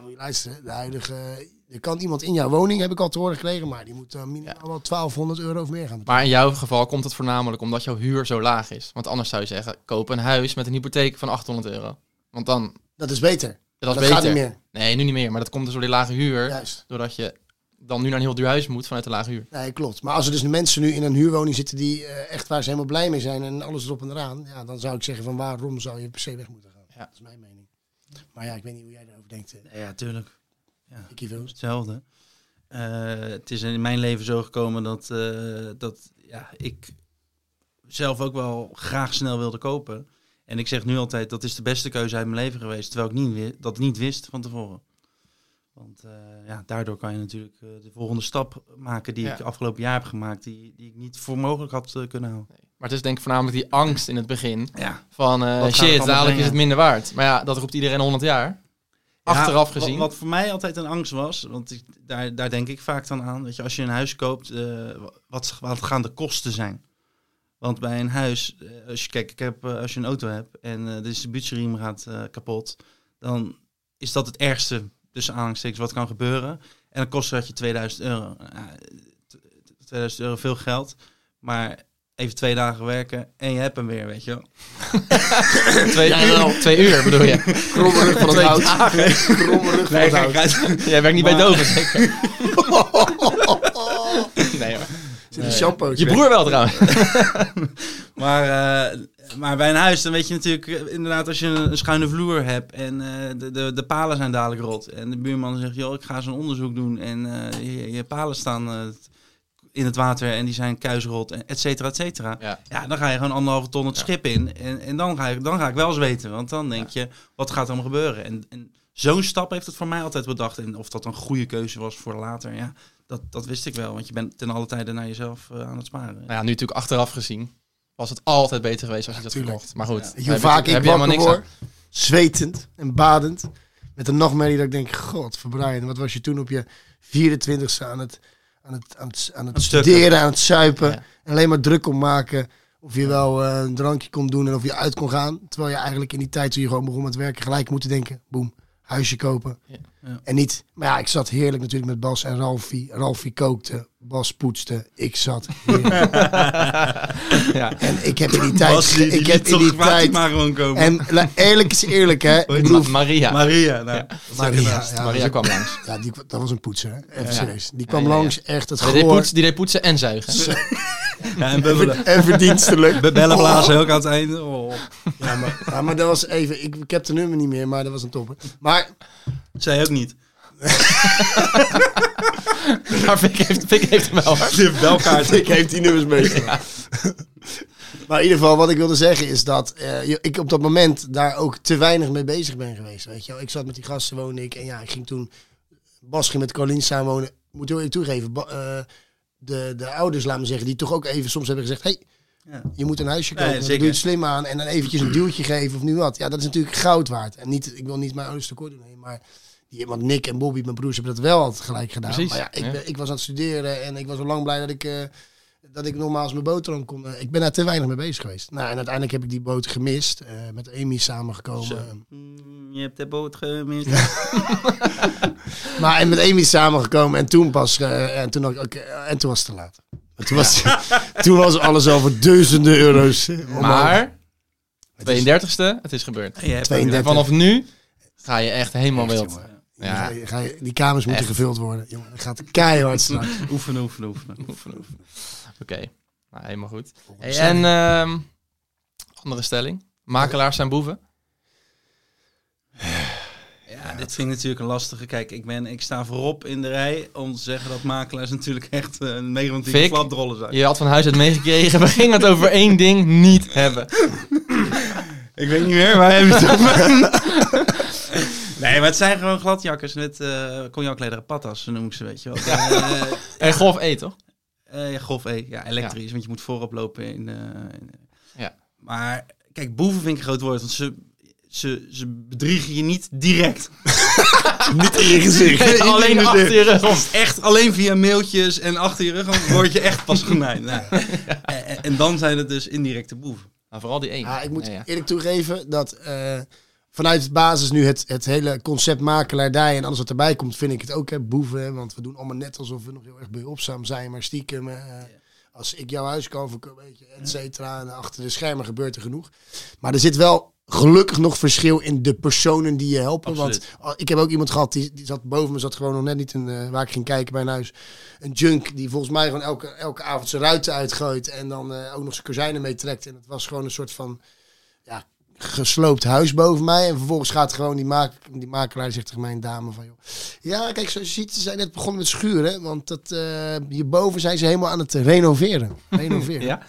Speaker 3: moet je luisteren, de huidige... Er kan iemand in jouw woning, heb ik al te horen gekregen, maar die moet eh, minimaal wel 1200 euro of meer gaan betalen.
Speaker 2: Maar in jouw geval komt het voornamelijk omdat jouw huur zo laag is. Want anders zou je zeggen, koop een huis met een hypotheek van 800 euro. Want dan,
Speaker 3: Dat is beter.
Speaker 2: dat is
Speaker 3: dat gaat
Speaker 2: beter.
Speaker 3: niet meer.
Speaker 2: Nee, nu niet meer. Maar dat komt dus door die lage huur.
Speaker 3: Juist.
Speaker 2: Doordat je dan nu naar een heel duur huis moet vanuit de lage huur.
Speaker 3: Nee, klopt. Maar als er dus mensen nu in een huurwoning zitten die eh, echt waar ze helemaal blij mee zijn en alles erop en eraan, ja, dan zou ik zeggen van waarom zou je per se weg moeten gaan?
Speaker 2: Ja.
Speaker 3: Dat is mijn mening. Maar ja, ik weet niet hoe jij daarover denkt. eh,
Speaker 4: Ja, tuurlijk.
Speaker 3: Ikkie Vils.
Speaker 4: hetzelfde. Eh, het is in mijn leven zo gekomen dat, eh, dat ja, ik zelf ook wel graag snel wilde kopen. En ik zeg nu altijd, dat is de beste keuze uit mijn leven geweest. Terwijl ik niet, wi- dat niet wist van tevoren. Want eh, ja, daardoor kan je natuurlijk eh, de volgende stap maken die
Speaker 2: Ja.
Speaker 4: ik afgelopen jaar heb gemaakt. Die, die ik niet voor mogelijk had eh, kunnen houden.
Speaker 2: Maar het is denk ik voornamelijk die angst in het begin.
Speaker 4: Ja,
Speaker 2: Van eh,
Speaker 4: Wat gaat het
Speaker 2: shit,
Speaker 4: allemaal
Speaker 2: dadelijk is
Speaker 4: brengen?
Speaker 2: het minder waard. Maar ja, dat roept iedereen 100 jaar. Achteraf
Speaker 4: Ja, wa-
Speaker 2: gezien.
Speaker 4: Wat, voor mij altijd een angst was, want ik, daar, daar denk ik vaak dan aan. Weet je, als je een huis koopt, eh, wat, wat gaan de kosten zijn? Want bij een huis, eh, als je, kijk, ik heb, eh, als je een auto hebt en eh, de distributieriem gaat eh, kapot, dan is dat het ergste tussen aanhalingstekens wat kan gebeuren. En dan kost dat je 2000 euro. Ja, t- t- 2000 euro veel geld, maar even twee dagen werken en je hebt hem weer, weet je wel.
Speaker 2: Twee, uur, twee uur bedoel je.
Speaker 3: Kromme rug van het hout. Kromme rug van het hout.
Speaker 2: Jij werkt niet bij
Speaker 4: Maar-
Speaker 2: Dover, zeker? nee hoor.
Speaker 3: Zit een shampoo.
Speaker 2: Je broer wel trouwens.
Speaker 4: Maar, eh, maar bij een huis, dan weet je natuurlijk, eh, inderdaad, als je een, een schuine vloer hebt en eh, de, de, de palen zijn dadelijk rot. En de buurman zegt, joh, ik ga eens een onderzoek doen en eh, je, je palen staan eh, in het water en die zijn kuisrot, en et cetera, et cetera.
Speaker 2: Ja.
Speaker 4: dan ga je gewoon anderhalve ton het schip in en, en dan, ga ik, dan ga ik wel eens weten, want dan denk je, wat gaat er allemaal gebeuren? En, en zo'n stap heeft het voor mij altijd bedacht. En of dat een goede keuze was voor later, ja, dat, dat wist ik wel, want je bent ten alle tijde naar jezelf eh, aan het sparen.
Speaker 2: Nou ja, nu natuurlijk achteraf gezien was het altijd beter geweest als je dat
Speaker 3: tuurlijk.
Speaker 2: verkocht. Maar goed, daar
Speaker 3: Hoe
Speaker 2: heb
Speaker 3: vaak
Speaker 2: je-
Speaker 3: ik
Speaker 2: heb je helemaal
Speaker 3: wakker
Speaker 2: niks
Speaker 3: word,
Speaker 2: aan.
Speaker 3: zwetend en badend, met een nachtmerrie dat ik denk, god, voor Brian, wat was je toen op je 24ste aan het, aan het, aan het, aan het
Speaker 4: het stukken.
Speaker 3: studeren, aan het suipen,
Speaker 2: Ja.
Speaker 3: en alleen maar druk kon maken of je wel eh, een drankje kon doen en of je uit kon gaan. Terwijl je eigenlijk in die tijd toen je gewoon begon met werken gelijk moeten denken, boem, huisje kopen.
Speaker 2: Ja.
Speaker 4: Ja.
Speaker 3: En niet, maar ja, ik zat heerlijk natuurlijk met Bas en Ralfie. Ralfie kookte, Bas poetste, ik zat heerlijk.
Speaker 2: ja.
Speaker 3: en ik heb in die tijd,
Speaker 4: Bas, die- die
Speaker 3: ik heb
Speaker 4: liet
Speaker 3: in
Speaker 4: toch
Speaker 3: die
Speaker 4: kwaad niet
Speaker 3: tijd
Speaker 4: maar gewoon komen.
Speaker 3: en la- eerlijk is eerlijk, hè? Ik bedoel,
Speaker 2: Ma- Maria.
Speaker 4: Maria, nou, dat is
Speaker 3: Maria,
Speaker 4: ook een-
Speaker 3: ja, dat is
Speaker 2: Maria
Speaker 3: ook-
Speaker 2: kwam langs.
Speaker 3: ja, die, dat was een poetser, hè? Even
Speaker 2: Ja.
Speaker 3: serieus. Die kwam
Speaker 2: Ja, ja, ja.
Speaker 3: langs, echt het
Speaker 2: Die deed,
Speaker 3: gehoor.
Speaker 2: poetsen, die deed poetsen en zuigen.
Speaker 4: Ja, en bubbelen.
Speaker 3: En verdienstelijk.
Speaker 4: Be- Bellen blazen ook aan het einde. Oh.
Speaker 3: Ja, maar, ja, maar dat was even... Ik, ik heb de nummer niet meer, maar dat was een topper. Maar
Speaker 4: Zij ook niet.
Speaker 2: Maar Vic heeft, Vic heeft hem wel. hoor.
Speaker 4: De belkaart.
Speaker 3: ik heeft die nummers meestal. Maar in ieder geval, wat ik wilde zeggen is dat eh, je- ik op dat moment daar ook te weinig mee bezig ben geweest. Weet je wel. Ik zat met die gasten, woonde ik. En ja, ik ging toen... Bas ging met Colin samen wonen. Moet heel even toegeven. Ba- eh, de, de ouders, laat me zeggen, die toch ook even soms hebben gezegd... Hey,
Speaker 4: Ja.
Speaker 3: Je moet een huisje
Speaker 4: Nee,
Speaker 3: kopen,
Speaker 4: zeker.
Speaker 3: doe je het slim aan en dan eventjes een duwtje geven of nu wat. Ja, dat is natuurlijk goud waard. En niet, ik wil niet mijn ouders tekort doen, nee, maar die, want Nick en Bobby, mijn broers, hebben dat wel altijd gelijk gedaan.
Speaker 2: Precies,
Speaker 3: maar ja, ik,
Speaker 2: ja.
Speaker 3: ben- ik was aan het studeren en ik was al lang blij dat ik, eh dat ik nogmaals mijn boterham kon. eh, ik ben daar te weinig mee bezig geweest. Nou, en uiteindelijk heb ik die boot gemist, eh, met Amy samengekomen.
Speaker 4: Je hebt de boot gemist.
Speaker 3: Maar en met Amy samengekomen en toen pas, eh, en, toen dacht ik, oké, eh, en toen was het te laat. Toen was, toen was alles al voor duizenden euro's. eh, omhoog.
Speaker 2: Maar, 32e, het is gebeurd.
Speaker 4: Je hebt
Speaker 2: En
Speaker 3: 32.
Speaker 2: vanaf nu ga je echt helemaal
Speaker 3: Echt,
Speaker 2: wild.
Speaker 3: jongen.
Speaker 2: Ja.
Speaker 3: Ga je- ga je- die kamers moeten
Speaker 2: Echt.
Speaker 3: gevuld worden. Jongen, dat gaat keihard straks.
Speaker 4: Oefenen, oefenen, oefenen.
Speaker 2: Oefenen, oefenen. Oké, nou, helemaal goed. Hey,
Speaker 3: Sorry.
Speaker 2: en ehm, andere stelling. Makelaars zijn boeven.
Speaker 4: Ja, dit vind ik natuurlijk een lastige. Kijk, ik, ben, ik sta voorop in de rij om te zeggen dat makelaars natuurlijk echt eh, een negatieve
Speaker 2: Fik.
Speaker 4: flapdrollen zijn.
Speaker 2: Je had van huis uit meegekregen. We gingen het over één ding niet hebben.
Speaker 4: Ik weet niet meer, waar hebben het Nee, maar het zijn gewoon gladjakkers met eh cognaclederen patas, zo noem ik ze, weet je wel. Eh,
Speaker 2: En golf E, toch?
Speaker 4: Eh, ja, golf E. Ja, elektrisch, want je moet voorop lopen in... eh, in-
Speaker 2: Ja.
Speaker 4: Maar kijk, boeven vind ik een groot woord, want ze, ze, ze bedriegen je niet direct.
Speaker 3: Niet in je gezicht.
Speaker 2: Alleen achter je rug. om.
Speaker 4: Echt alleen via mailtjes en achter je rug dan word je echt pas genaaid. Nou, en, en dan zijn het dus indirecte boeven.
Speaker 2: Maar vooral die één.
Speaker 3: Ja, ik moet
Speaker 2: Nee, ja.
Speaker 3: eerlijk toegeven dat eh, vanuit het basis nu het, het hele concept makelaardij en alles wat erbij komt, vind ik het ook hè, boeven. hè, want we doen allemaal net alsof we nog heel erg behulpzaam zijn, maar stiekem. eh, Als ik jouw huis kan verkopen, weet je, et cetera. En achter de schermen gebeurt er genoeg. Maar er zit wel gelukkig nog verschil in de personen die je helpen.
Speaker 4: Absoluut.
Speaker 3: Want ah, ik heb ook iemand gehad, die, die zat boven me, zat gewoon nog net niet een, eh, waar ik ging kijken bij een huis. Een junk die volgens mij gewoon elke, elke avond zijn ruiten uitgooit. En dan eh, ook nog zijn kozijnen meetrekt. En het was gewoon een soort van ja, gesloopt huis boven mij. En vervolgens gaat gewoon die, maak, die makelaar die zegt tegen mijn dame van... Joh, ja, kijk, zoals je ziet, ze zijn net begonnen met schuren. Want dat, eh, hierboven zijn ze helemaal aan het renoveren. renoveren.
Speaker 2: Ja?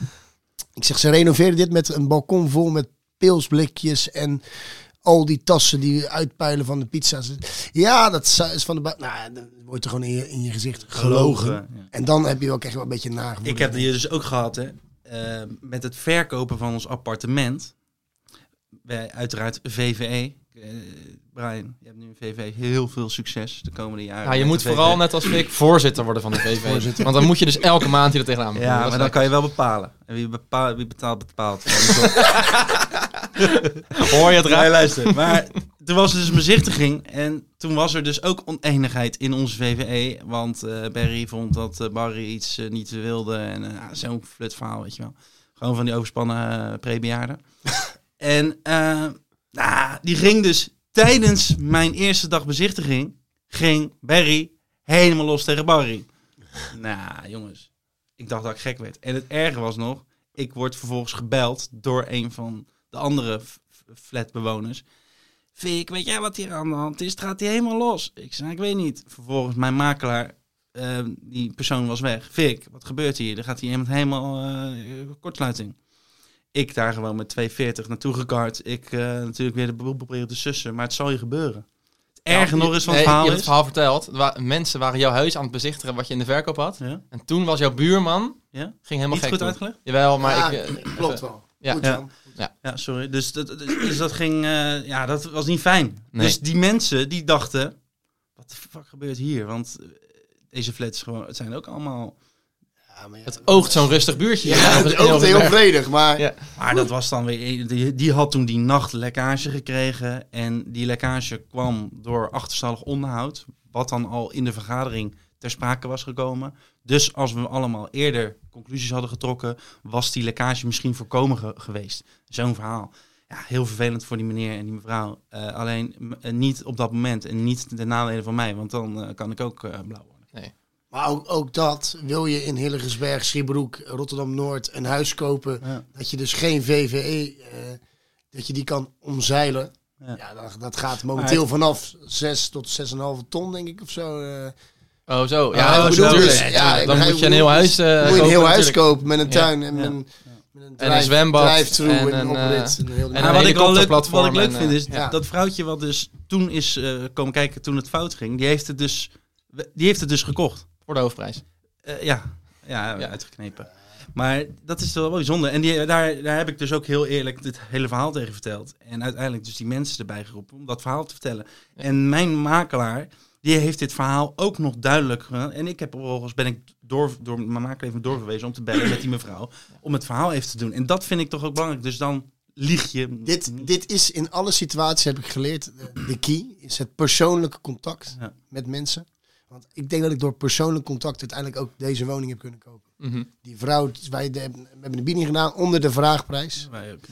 Speaker 3: Ik zeg, ze renoveren dit met een balkon vol met pilsblikjes en al die tassen die uitpuilen van de pizza's. Ja, dat zou- is van de... bui- Nou, dan wordt er gewoon in je, in je gezicht gelogen.
Speaker 4: Ja.
Speaker 3: En dan heb je ook echt wel een beetje nagevoel.
Speaker 4: Ik heb die dus ook gehad, hè. eh, met het verkopen van ons appartement wij uiteraard VVE. Eh, Brian, je hebt nu in VVE heel veel succes de komende jaren.
Speaker 2: Ja, Nou, je
Speaker 4: met
Speaker 2: moet
Speaker 4: de E.
Speaker 2: vooral,
Speaker 4: VVE.
Speaker 2: net als ik, voorzitter worden van de VV. Want dan moet je dus elke maand hier tegenaan.
Speaker 4: Ja, maar dan kan je wel bepalen. En wie, bepaalt, wie betaalt, bepaalt. Ja, dat is wel-
Speaker 2: Hoor je het
Speaker 4: Nee,
Speaker 2: raar?
Speaker 4: luister. Maar toen was er dus een bezichtiging. En toen was er dus ook oneenigheid in onze VVE. Want eh, Barry vond dat eh, Barry iets eh, niet wilde. En eh, ja, zo'n flutverhaal, weet je wel. Gewoon van die overspannen eh, prebejaarden. en eh, nou, die ging dus tijdens mijn eerste dag bezichtiging... ging Barry helemaal los tegen Barry. nou, jongens. Ik dacht dat ik gek werd. En het erge was nog... ik word vervolgens gebeld door een van de andere f- f- flatbewoners. Fik, weet jij wat hier aan de hand is? Het gaat hier helemaal los. Ik zei, ik weet niet. Vervolgens mijn makelaar, eh, die persoon was weg. Fik, wat gebeurt hier? Er gaat hier iemand helemaal eh, kortsluiting. Ik daar gewoon met 2,40 naartoe gekart. Ik eh, natuurlijk weer de boel proberen te sussen, maar het zal je gebeuren. Het erge nog is van het
Speaker 2: Nee,
Speaker 4: verhaal
Speaker 2: je
Speaker 4: is...
Speaker 2: hebt het verhaal verteld. Er wa- mensen waren jouw huis aan het bezichtigen wat je in de verkoop had.
Speaker 4: Ja?
Speaker 2: En toen was jouw buurman...
Speaker 4: Ja?
Speaker 2: Ging helemaal
Speaker 4: Niet
Speaker 2: gek
Speaker 4: goed
Speaker 2: doen.
Speaker 4: uitgelegd?
Speaker 2: Jawel, maar
Speaker 3: Ja,
Speaker 2: ik... eh,
Speaker 3: klopt
Speaker 2: even-
Speaker 3: wel.
Speaker 2: ja.
Speaker 3: Goed,
Speaker 4: Ja.
Speaker 3: Jan.
Speaker 4: Ja, sorry. Dus dat, dus- dus dat ging... eh, ja, dat was niet fijn.
Speaker 2: Nee.
Speaker 4: Dus die mensen die dachten... Wat de fuck gebeurt hier? Want eh, deze flats gewoon, het zijn ook allemaal...
Speaker 3: Ja, maar ja,
Speaker 2: Het oogt zo'n rustig buurtje.
Speaker 3: Ja, het oogt heel vredig, maar...
Speaker 2: Ja.
Speaker 4: Maar dat was dan weer... Die, die had toen die nacht lekkage gekregen. En die lekkage kwam door achterstallig onderhoud. Wat dan al in de vergadering ter sprake was gekomen. Dus als we allemaal eerder conclusies hadden getrokken... was die lekkage misschien voorkomen ge- geweest. Zo'n verhaal. Ja, heel vervelend voor die meneer en die mevrouw. Eh, alleen m- eh, niet op dat moment en niet de nadelen van mij. Want dan eh, kan ik ook eh, blauw worden.
Speaker 3: Maar ook, ook dat, wil je in Hillegersberg, Schiebroek, Rotterdam-Noord een huis kopen...
Speaker 4: Ja.
Speaker 3: dat je dus geen VVE, eh, dat je die kan omzeilen.
Speaker 4: Ja.
Speaker 3: Ja, dat, dat gaat momenteel vanaf 6 tot 6,5 ton, denk ik, of zo. eh.
Speaker 2: Oh, zo.
Speaker 4: Oh,
Speaker 2: Ja,
Speaker 4: ik bedoel,
Speaker 2: natuurlijk.
Speaker 4: dus-
Speaker 3: ja, ik
Speaker 2: dan
Speaker 3: begrijp
Speaker 2: moet je
Speaker 3: wat
Speaker 2: een
Speaker 3: je
Speaker 2: heel
Speaker 3: bedoelt.
Speaker 2: huis eh,
Speaker 3: moet je een
Speaker 2: kopen
Speaker 3: heel huis
Speaker 2: natuurlijk.
Speaker 3: kopen met een
Speaker 2: Ja.
Speaker 3: tuin en
Speaker 4: Ja.
Speaker 3: met een, met een,
Speaker 2: een zwembad
Speaker 3: drive-through
Speaker 2: en
Speaker 3: en,
Speaker 2: een,
Speaker 3: een oprit. En, heel die-
Speaker 2: en
Speaker 4: Maar
Speaker 2: een
Speaker 4: wat, ik wel leuk, wat
Speaker 2: helikopterplatform
Speaker 4: ik leuk
Speaker 2: en,
Speaker 4: vind
Speaker 2: eh,
Speaker 4: is
Speaker 3: ja.
Speaker 4: dat vrouwtje wat dus toen is eh, komen kijken toen het fout ging, die heeft het dus, die heeft het dus gekocht.
Speaker 2: Voor de hoofdprijs.
Speaker 4: Eh, ja. ja,
Speaker 2: Ja.
Speaker 4: uitgeknepen. Maar dat is toch wel bijzonder. En die, daar, daar heb ik dus ook heel eerlijk dit hele verhaal tegen verteld. En uiteindelijk dus die mensen erbij geroepen om dat verhaal te vertellen.
Speaker 2: Ja.
Speaker 4: En mijn makelaar, die heeft dit verhaal ook nog duidelijk gedaan. En ik heb vervolgens ben ik door, door mijn makelaar even doorverwezen om te bellen met die mevrouw. Om het verhaal even te doen. En dat vind ik toch ook belangrijk. Dus dan lieg je.
Speaker 3: dit, dit is in alle situaties, heb ik geleerd, eh, de key. Is het persoonlijke contact
Speaker 4: Ja.
Speaker 3: met mensen. Want ik denk dat ik door persoonlijk contact uiteindelijk ook deze woning heb kunnen kopen.
Speaker 2: Mhm.
Speaker 3: Die vrouw, wij de- we hebben de bieding gedaan onder de vraagprijs.
Speaker 4: Wij ook.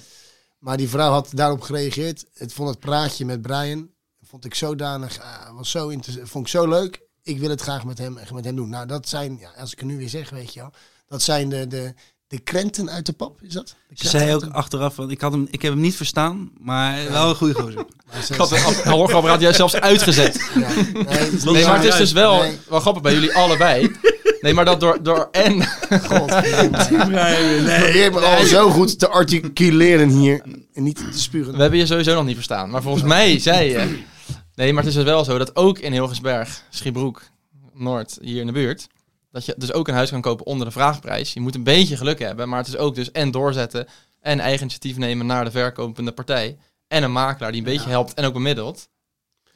Speaker 3: Maar die vrouw had daarop gereageerd. Het vond het praatje met Brian. Vond ik zodanig. ah, was zo inter- vond ik zo leuk. Ik wil het graag met hem, met hem doen. Nou, dat zijn, ja, als ik het nu weer zeg, weet je wel. Dat zijn de, de, de krenten uit de pap, is dat? De
Speaker 4: Ze
Speaker 3: krenten
Speaker 4: zei
Speaker 3: uit
Speaker 4: ook
Speaker 3: de-
Speaker 4: achteraf, want ik, had hem, ik heb hem niet verstaan, maar wel een goede gozer.
Speaker 3: Maar ze-
Speaker 4: ah,
Speaker 2: Ik had het hoorgeapparaat juist zelfs uitgezet.
Speaker 3: ja, nee, dat is
Speaker 2: Nee,
Speaker 3: niet
Speaker 2: maar het
Speaker 3: waar.
Speaker 2: is dus wel,
Speaker 3: Nee.
Speaker 2: wel grappig bij jullie allebei. Nee, maar dat door, door en
Speaker 3: God, Probeer me al zo goed te articuleren hier. En niet te
Speaker 2: We
Speaker 3: spuren.
Speaker 2: hebben je sowieso nog niet verstaan. Maar volgens mij zei je... Nee, maar het is dus wel zo dat ook in Hilgersberg, Schiebroek, Noord, hier in de buurt... dat je dus ook een huis kan kopen onder de vraagprijs. Je moet een beetje geluk hebben, maar het is ook dus en doorzetten... en eigen initiatief nemen naar de verkopende partij... en een makelaar die een beetje helpt en ook bemiddelt.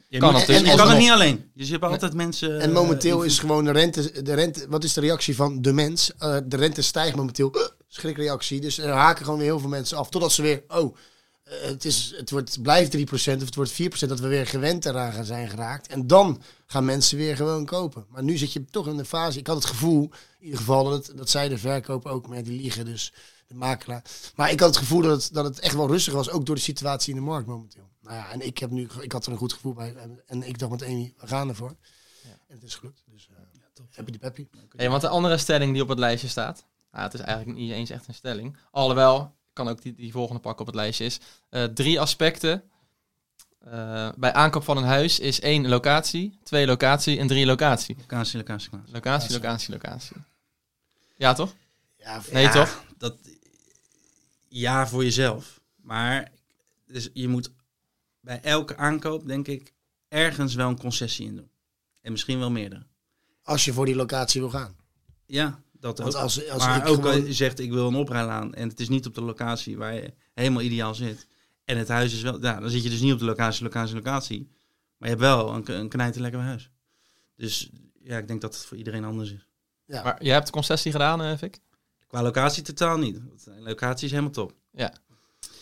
Speaker 4: Je
Speaker 2: Kan
Speaker 4: moet-
Speaker 2: het dus
Speaker 4: en- en je kan het
Speaker 2: alsnog.
Speaker 4: niet alleen. Dus je hebt altijd mensen...
Speaker 3: En
Speaker 4: eh,
Speaker 3: momenteel
Speaker 4: die-
Speaker 3: is gewoon de rente, de rente. Wat is de reactie van de mens? Eh, de rente stijgt momenteel. Eh, Schrikreactie. Dus er haken gewoon weer heel veel mensen af. Totdat ze weer. Oh, eh, het, is, het wordt, blijft 3% of het wordt 4%. Dat we weer gewend eraan gaan zijn geraakt. En dan gaan mensen weer gewoon kopen. Maar nu zit je toch in de fase. Ik had het gevoel, in ieder geval, dat, het, dat zij de verkoop ook met die liegen. Dus de makelaar. Maar ik had het gevoel dat het, dat het echt wel rustig was. Ook door de situatie in de markt momenteel. Nou ja, en ik, heb nu, ik had er een goed gevoel bij. En, en ik dacht met Amy, we gaan ervoor. En het is gelukt. Dus eh happy de peppy.
Speaker 2: Hey, want de andere stelling die op het lijstje staat... Nou, het is eigenlijk niet eens echt een stelling. Alhoewel, ik kan ook die, die volgende pakken op het lijstje is... eh, drie aspecten eh, bij aankoop van een huis is één locatie... twee locatie en drie locatie.
Speaker 4: Locatie, locatie, locatie.
Speaker 2: Locatie, locatie, locatie. Ja, toch?
Speaker 3: Ja,
Speaker 2: Nee,
Speaker 4: Ja,
Speaker 2: toch?
Speaker 4: Dat, ja, voor jezelf. Maar dus je moet bij elke aankoop, denk ik, ergens wel een concessie in doen. En misschien wel meerdere.
Speaker 3: als je voor die locatie wil gaan.
Speaker 4: Ja, dat ook.
Speaker 3: Want als, als
Speaker 4: maar
Speaker 3: ik
Speaker 4: ook
Speaker 3: gewoon-
Speaker 4: al je zegt, ik wil een oprijlaan en het is niet op de locatie waar je helemaal ideaal zit. En het huis is wel... Nou, dan zit je dus niet op de locatie, locatie, locatie. Maar je hebt wel een, een knijterlekker huis. Dus ja, ik denk dat het voor iedereen anders is.
Speaker 3: Ja.
Speaker 2: Maar jij hebt concessie gedaan, eh Vic?
Speaker 4: Qua locatie totaal niet. Want de locatie is helemaal top.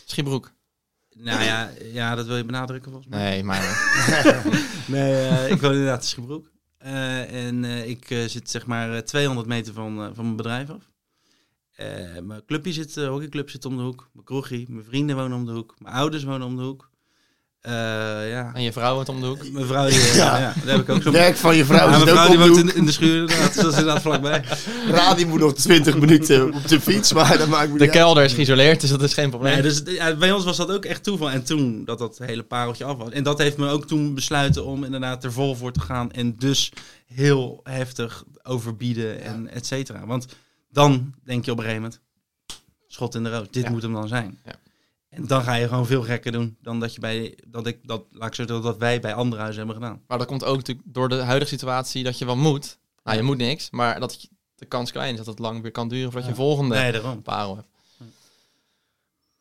Speaker 2: Schiebroek.
Speaker 4: Nou ja, ja dat wil je benadrukken volgens mij.
Speaker 2: Nee, maar...
Speaker 4: Nee, eh, ik woon inderdaad in Schiebroek. Eh, en eh, ik eh, zit zeg maar eh, 200 meter van, eh, van mijn bedrijf af. Eh, mijn clubje zit, eh, hockeyclub zit om de hoek. Mijn kroegje, mijn vrienden wonen om de hoek. Mijn ouders wonen om de hoek. Eh, ja.
Speaker 2: en je vrouw wordt om de hoek.
Speaker 4: Mijn vrouw, die, eh,
Speaker 3: Ja.
Speaker 4: ja. daar heb ik ook zo'n...
Speaker 3: Werk van je
Speaker 4: Ja,
Speaker 3: vrouw is
Speaker 4: mijn
Speaker 3: het
Speaker 4: vrouw
Speaker 3: ook
Speaker 4: die
Speaker 3: op
Speaker 4: woont
Speaker 3: de
Speaker 4: in, in de schuur, inderdaad. Dat is inderdaad vlakbij.
Speaker 3: hoek. Ra, die moet nog 20 minuten op de fiets, maar dat maakt
Speaker 2: De
Speaker 3: me niet uit.
Speaker 2: kelder is geïsoleerd, dus dat is geen probleem.
Speaker 4: Nee, dus ja, bij ons was dat ook echt toeval. En toen dat dat hele pareltje af was. En dat heeft me ook toen besluiten om inderdaad er vol voor te gaan. En dus heel heftig overbieden en et cetera. Want dan denk je op een gegeven moment, schot in de roos, dit
Speaker 2: Ja.
Speaker 4: moet hem dan zijn.
Speaker 2: Ja.
Speaker 4: En dan ga je gewoon veel gekker doen dan dat je bij dat ik dat laat ik zo zeggen, dat wij bij andere huizen hebben gedaan.
Speaker 2: Maar dat komt ook natuurlijk door de huidige situatie dat je wel moet. Nou, je moet niks, maar dat je- de kans klein is dat het lang weer kan duren voordat je een volgende
Speaker 4: Nee, daarom.
Speaker 2: parel hebt.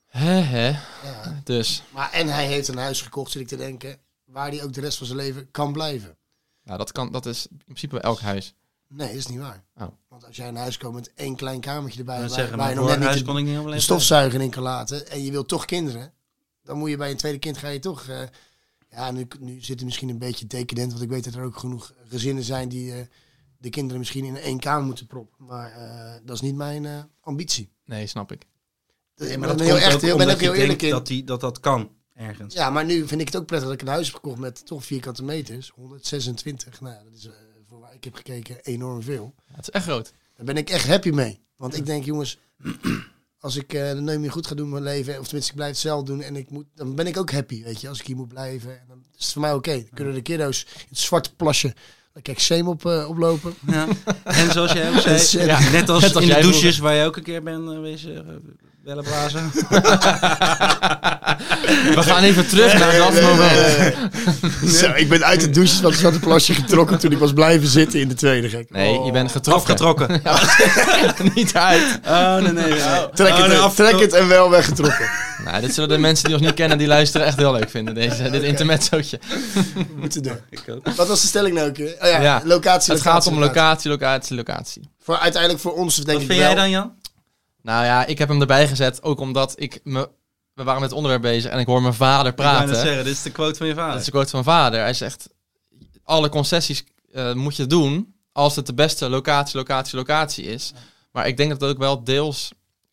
Speaker 2: Hè, hè.
Speaker 3: Ja.
Speaker 2: Dus,
Speaker 3: Maar en hij heeft een huis gekocht, zit ik te denken, waar hij ook de rest van zijn leven kan blijven.
Speaker 2: nou, dat, kan, dat is in principe bij elk huis.
Speaker 3: Nee, dat is niet waar.
Speaker 2: Oh.
Speaker 3: Want als jij in huis komt met één klein kamertje erbij,
Speaker 4: Ik
Speaker 3: waar,
Speaker 4: wil zeggen,
Speaker 3: waar je
Speaker 4: mijn
Speaker 3: nog net
Speaker 4: huis
Speaker 3: niet
Speaker 4: kon
Speaker 3: de,
Speaker 4: ik niet helemaal
Speaker 3: de
Speaker 4: even-
Speaker 3: stofzuiger in kan laten en je wilt toch kinderen, dan moet je bij een tweede kind ga je toch... eh, ja, nu, nu zit het misschien een beetje decadent, want ik weet dat er ook genoeg gezinnen zijn die eh, de kinderen misschien in één kamer moeten proppen. Maar eh, dat is niet mijn eh, ambitie.
Speaker 2: Nee, snap ik.
Speaker 3: Dus ik
Speaker 4: Maar
Speaker 3: ben
Speaker 4: dat
Speaker 3: heel
Speaker 4: komt
Speaker 3: echt
Speaker 4: ook
Speaker 3: heel, ben
Speaker 4: omdat
Speaker 3: ook heel
Speaker 4: je
Speaker 3: eerlijk
Speaker 4: denkt
Speaker 3: in.
Speaker 4: Dat, die, dat dat kan ergens.
Speaker 3: Ja, maar nu vind ik het ook prettig dat ik een huis heb gekocht met toch vierkante meters. 126. Nou, ja, dat is eh, voor waar ik heb gekeken enorm veel.
Speaker 2: Ja, het is echt groot.
Speaker 3: Daar ben ik echt happy mee. Want ik denk, jongens, als ik eh de neum hier goed ga doen in mijn leven, of tenminste ik blijf het zelf doen en ik moet, dan ben ik ook happy, weet je, als ik hier moet blijven. En dan is het voor mij oké. Dan kunnen de kiddo's in het zwarte plasje, dan kijk Seem op, eh, oplopen.
Speaker 4: Ja. En zoals jij ook
Speaker 3: Dus,
Speaker 4: zei,
Speaker 3: eh,
Speaker 2: Ja.
Speaker 4: net als,
Speaker 2: Net als
Speaker 4: in de
Speaker 2: jij
Speaker 4: douches waar je ook een keer bent eh, wezen eh, bellen blazen.
Speaker 2: We gaan even terug naar dat moment.
Speaker 3: Zo, ik ben uit de douches van het zwarte plasje getrokken toen ik was blijven zitten in de tweede gek.
Speaker 2: Nee, je bent getrokken.
Speaker 4: Afgetrokken.
Speaker 2: Niet uit.
Speaker 4: Oh, nee, nee. nee.
Speaker 3: Trek
Speaker 4: Oh,
Speaker 3: het,
Speaker 4: nee,
Speaker 3: en-
Speaker 4: af-
Speaker 3: trek het en wel weggetrokken.
Speaker 2: Nou, dit zullen de mensen die ons niet kennen, die luisteren, echt heel leuk vinden. Deze, dit intermezzootje.
Speaker 3: Moeten doen.
Speaker 4: Ik ook.
Speaker 3: Wat was de stelling nou ook weer? Oh
Speaker 2: Ja.
Speaker 3: ja, locatie, locatie.
Speaker 2: Het gaat om locatie,
Speaker 3: locatie.
Speaker 2: locatie, locatie.
Speaker 3: Voor, uiteindelijk voor ons denk
Speaker 4: Wat
Speaker 3: ik
Speaker 4: vind
Speaker 3: wel.
Speaker 4: jij dan, Jan?
Speaker 2: Nou ja, ik heb hem erbij gezet, ook omdat ik me... We waren met het onderwerp bezig en ik hoor mijn vader
Speaker 4: Ik wou net
Speaker 2: praten.
Speaker 4: zeggen, dit is de quote van je
Speaker 2: Dat
Speaker 4: vader.
Speaker 2: is de quote van mijn vader. Hij zegt, alle concessies eh, moet je doen als het de beste locatie, locatie, locatie is. Maar ik denk dat dat ook wel deels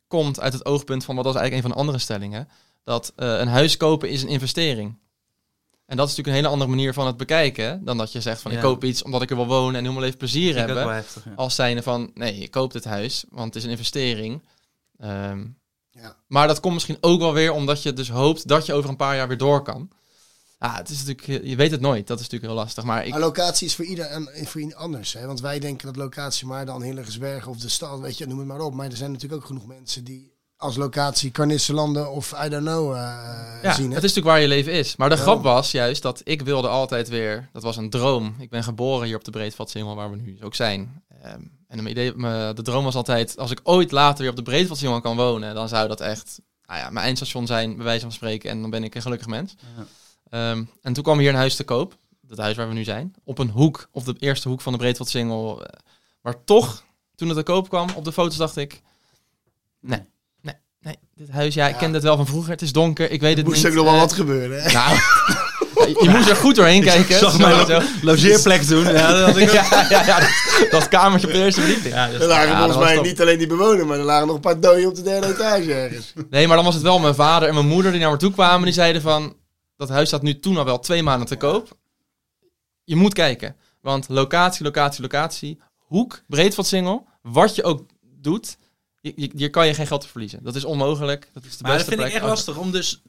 Speaker 2: komt uit het oogpunt van, wat was eigenlijk een van de andere stellingen, dat eh, een huis kopen is een investering. En dat is natuurlijk een hele andere manier van het bekijken dan dat je zegt van, ik
Speaker 4: Ja.
Speaker 2: koop iets omdat ik er wil wonen en helemaal even plezier
Speaker 4: Vind ik ook
Speaker 2: hebben.
Speaker 4: wel heftig, ja.
Speaker 2: Als zijnde van, nee, ik koop dit huis, want het is een investering. Ehm,
Speaker 3: Ja.
Speaker 2: Maar dat komt misschien ook wel weer omdat je dus hoopt dat je over een paar jaar weer door kan. Ah, het is natuurlijk, je weet het nooit, dat is natuurlijk heel lastig. Maar ik,
Speaker 3: Maar locatie is voor ieder en voor ieder anders. Hè? Want wij denken dat locatie maar dan Hilligensbergen of de stad, weet je, noem het maar op. Maar er zijn natuurlijk ook genoeg mensen die als locatie Carnisselanden of I don't know eh,
Speaker 2: ja, het is
Speaker 3: zien. hè.
Speaker 2: natuurlijk waar je leven is. Maar de
Speaker 3: Ja.
Speaker 2: grap was juist dat ik wilde altijd weer, dat was een droom. Ik ben geboren hier op de Breedvaartsingel, waar we nu dus ook zijn. Ehm, en mijn idee, mijn- de droom was altijd, als ik ooit later weer op de Breedvaartsingel kan wonen, dan zou dat echt nou ja, mijn eindstation zijn, bij wijze van spreken. En dan ben ik een gelukkig mens.
Speaker 4: Ja.
Speaker 2: Ehm, en toen kwam hier een huis te koop, het huis waar we nu zijn, op een hoek, op de eerste hoek van de Breedvaartsingel. Eh, Maar toch, toen het te koop kwam, op de foto's dacht ik, nee, nee, nee, dit huis, ja, ik
Speaker 3: Ja.
Speaker 2: ken het wel van vroeger, het is donker, ik weet
Speaker 3: Er
Speaker 2: het
Speaker 3: moest
Speaker 2: niet.
Speaker 3: ook nog wel
Speaker 2: eh,
Speaker 3: wat gebeuren. hè.
Speaker 2: nou, je moest er goed doorheen kijken.
Speaker 4: zag mij
Speaker 2: Sowieso.
Speaker 4: Logeerplek doen. Ja, dat had ik ook.
Speaker 2: ja, ja, ja, dat, dat kamertje op de eerste verdieping.
Speaker 4: Ja, dat
Speaker 3: Er lagen
Speaker 2: Ja, dat
Speaker 3: volgens
Speaker 2: was
Speaker 3: mij
Speaker 2: top.
Speaker 3: niet alleen die bewoners, maar er lagen nog een paar doden op de derde etage ergens.
Speaker 2: Nee, maar dan was het wel mijn vader en mijn moeder die naar me toe kwamen. Die zeiden van, dat huis staat nu toen al wel twee maanden te koop. Je moet kijken. Want locatie, locatie, locatie. Hoek, Breedvaartsingel. Wat je ook doet, je- je- hier kan je geen geld te verliezen. Dat is onmogelijk. Dat is de
Speaker 4: maar dat
Speaker 2: beste
Speaker 4: vind ik
Speaker 2: plek.
Speaker 4: echt lastig om dus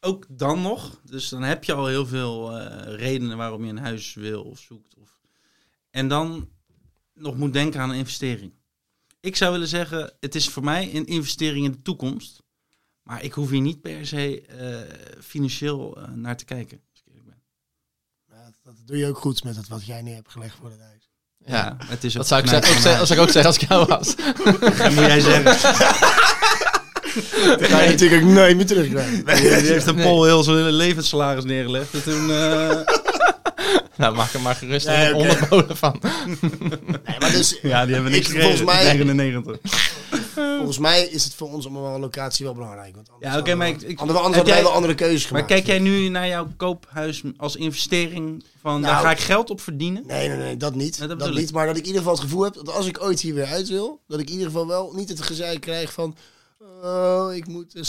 Speaker 4: ook dan nog. Dus dan heb je al heel veel eh, redenen waarom je een huis wil of zoekt. Of, en dan nog moet denken aan een investering. Ik zou willen zeggen, het is voor mij een investering in de toekomst. Maar ik hoef hier niet per se eh, financieel eh, naar te kijken. als ik eerlijk ben.
Speaker 3: Ja, dat- dat doe je ook goed met het wat jij neer hebt gelegd voor het huis.
Speaker 2: Ja.
Speaker 4: het is
Speaker 2: Dat
Speaker 4: ook
Speaker 2: zou ik,
Speaker 4: knijp
Speaker 2: zeggen,
Speaker 4: van mij.
Speaker 2: ook zeggen, dat zou ik ook zeggen als ik jou was.
Speaker 4: Dat moet jij zeggen.
Speaker 3: Dat ga je natuurlijk ook nooit meer terugkrijgen.
Speaker 4: Die heeft een
Speaker 2: Nee.
Speaker 4: Paul heel zijn hele levenssalaris neergelegd. En toen, eh,
Speaker 2: Nou, maak er maar gerust
Speaker 3: Nee,
Speaker 2: een
Speaker 3: oké.
Speaker 2: onderboden van.
Speaker 3: Nee, maar dus,
Speaker 4: ja, die hebben niks
Speaker 3: Ik-
Speaker 4: gekregen.
Speaker 3: volgens mij-
Speaker 4: 99.
Speaker 3: volgens mij is het voor ons om een locatie wel belangrijk. Want anders
Speaker 4: Ja, oké,
Speaker 3: hadden we
Speaker 4: maar
Speaker 3: wel-
Speaker 4: ik- ik-
Speaker 3: anders hadden
Speaker 4: heb
Speaker 3: wij
Speaker 4: jij-
Speaker 3: wel andere keuzes
Speaker 4: Maar
Speaker 3: gemaakt.
Speaker 4: kijk jij nu naar jouw koophuis als investering van daar
Speaker 3: Nou.
Speaker 4: ga ik geld op verdienen?
Speaker 3: Nee, nee, nee, dat niet.
Speaker 4: Ja, dat
Speaker 3: dat
Speaker 4: bedoel ik.
Speaker 3: niet. Maar dat ik in ieder geval het gevoel heb dat als ik ooit hier weer uit wil, dat ik in ieder geval wel niet het gezeik krijg van. Oh, ik moet eh,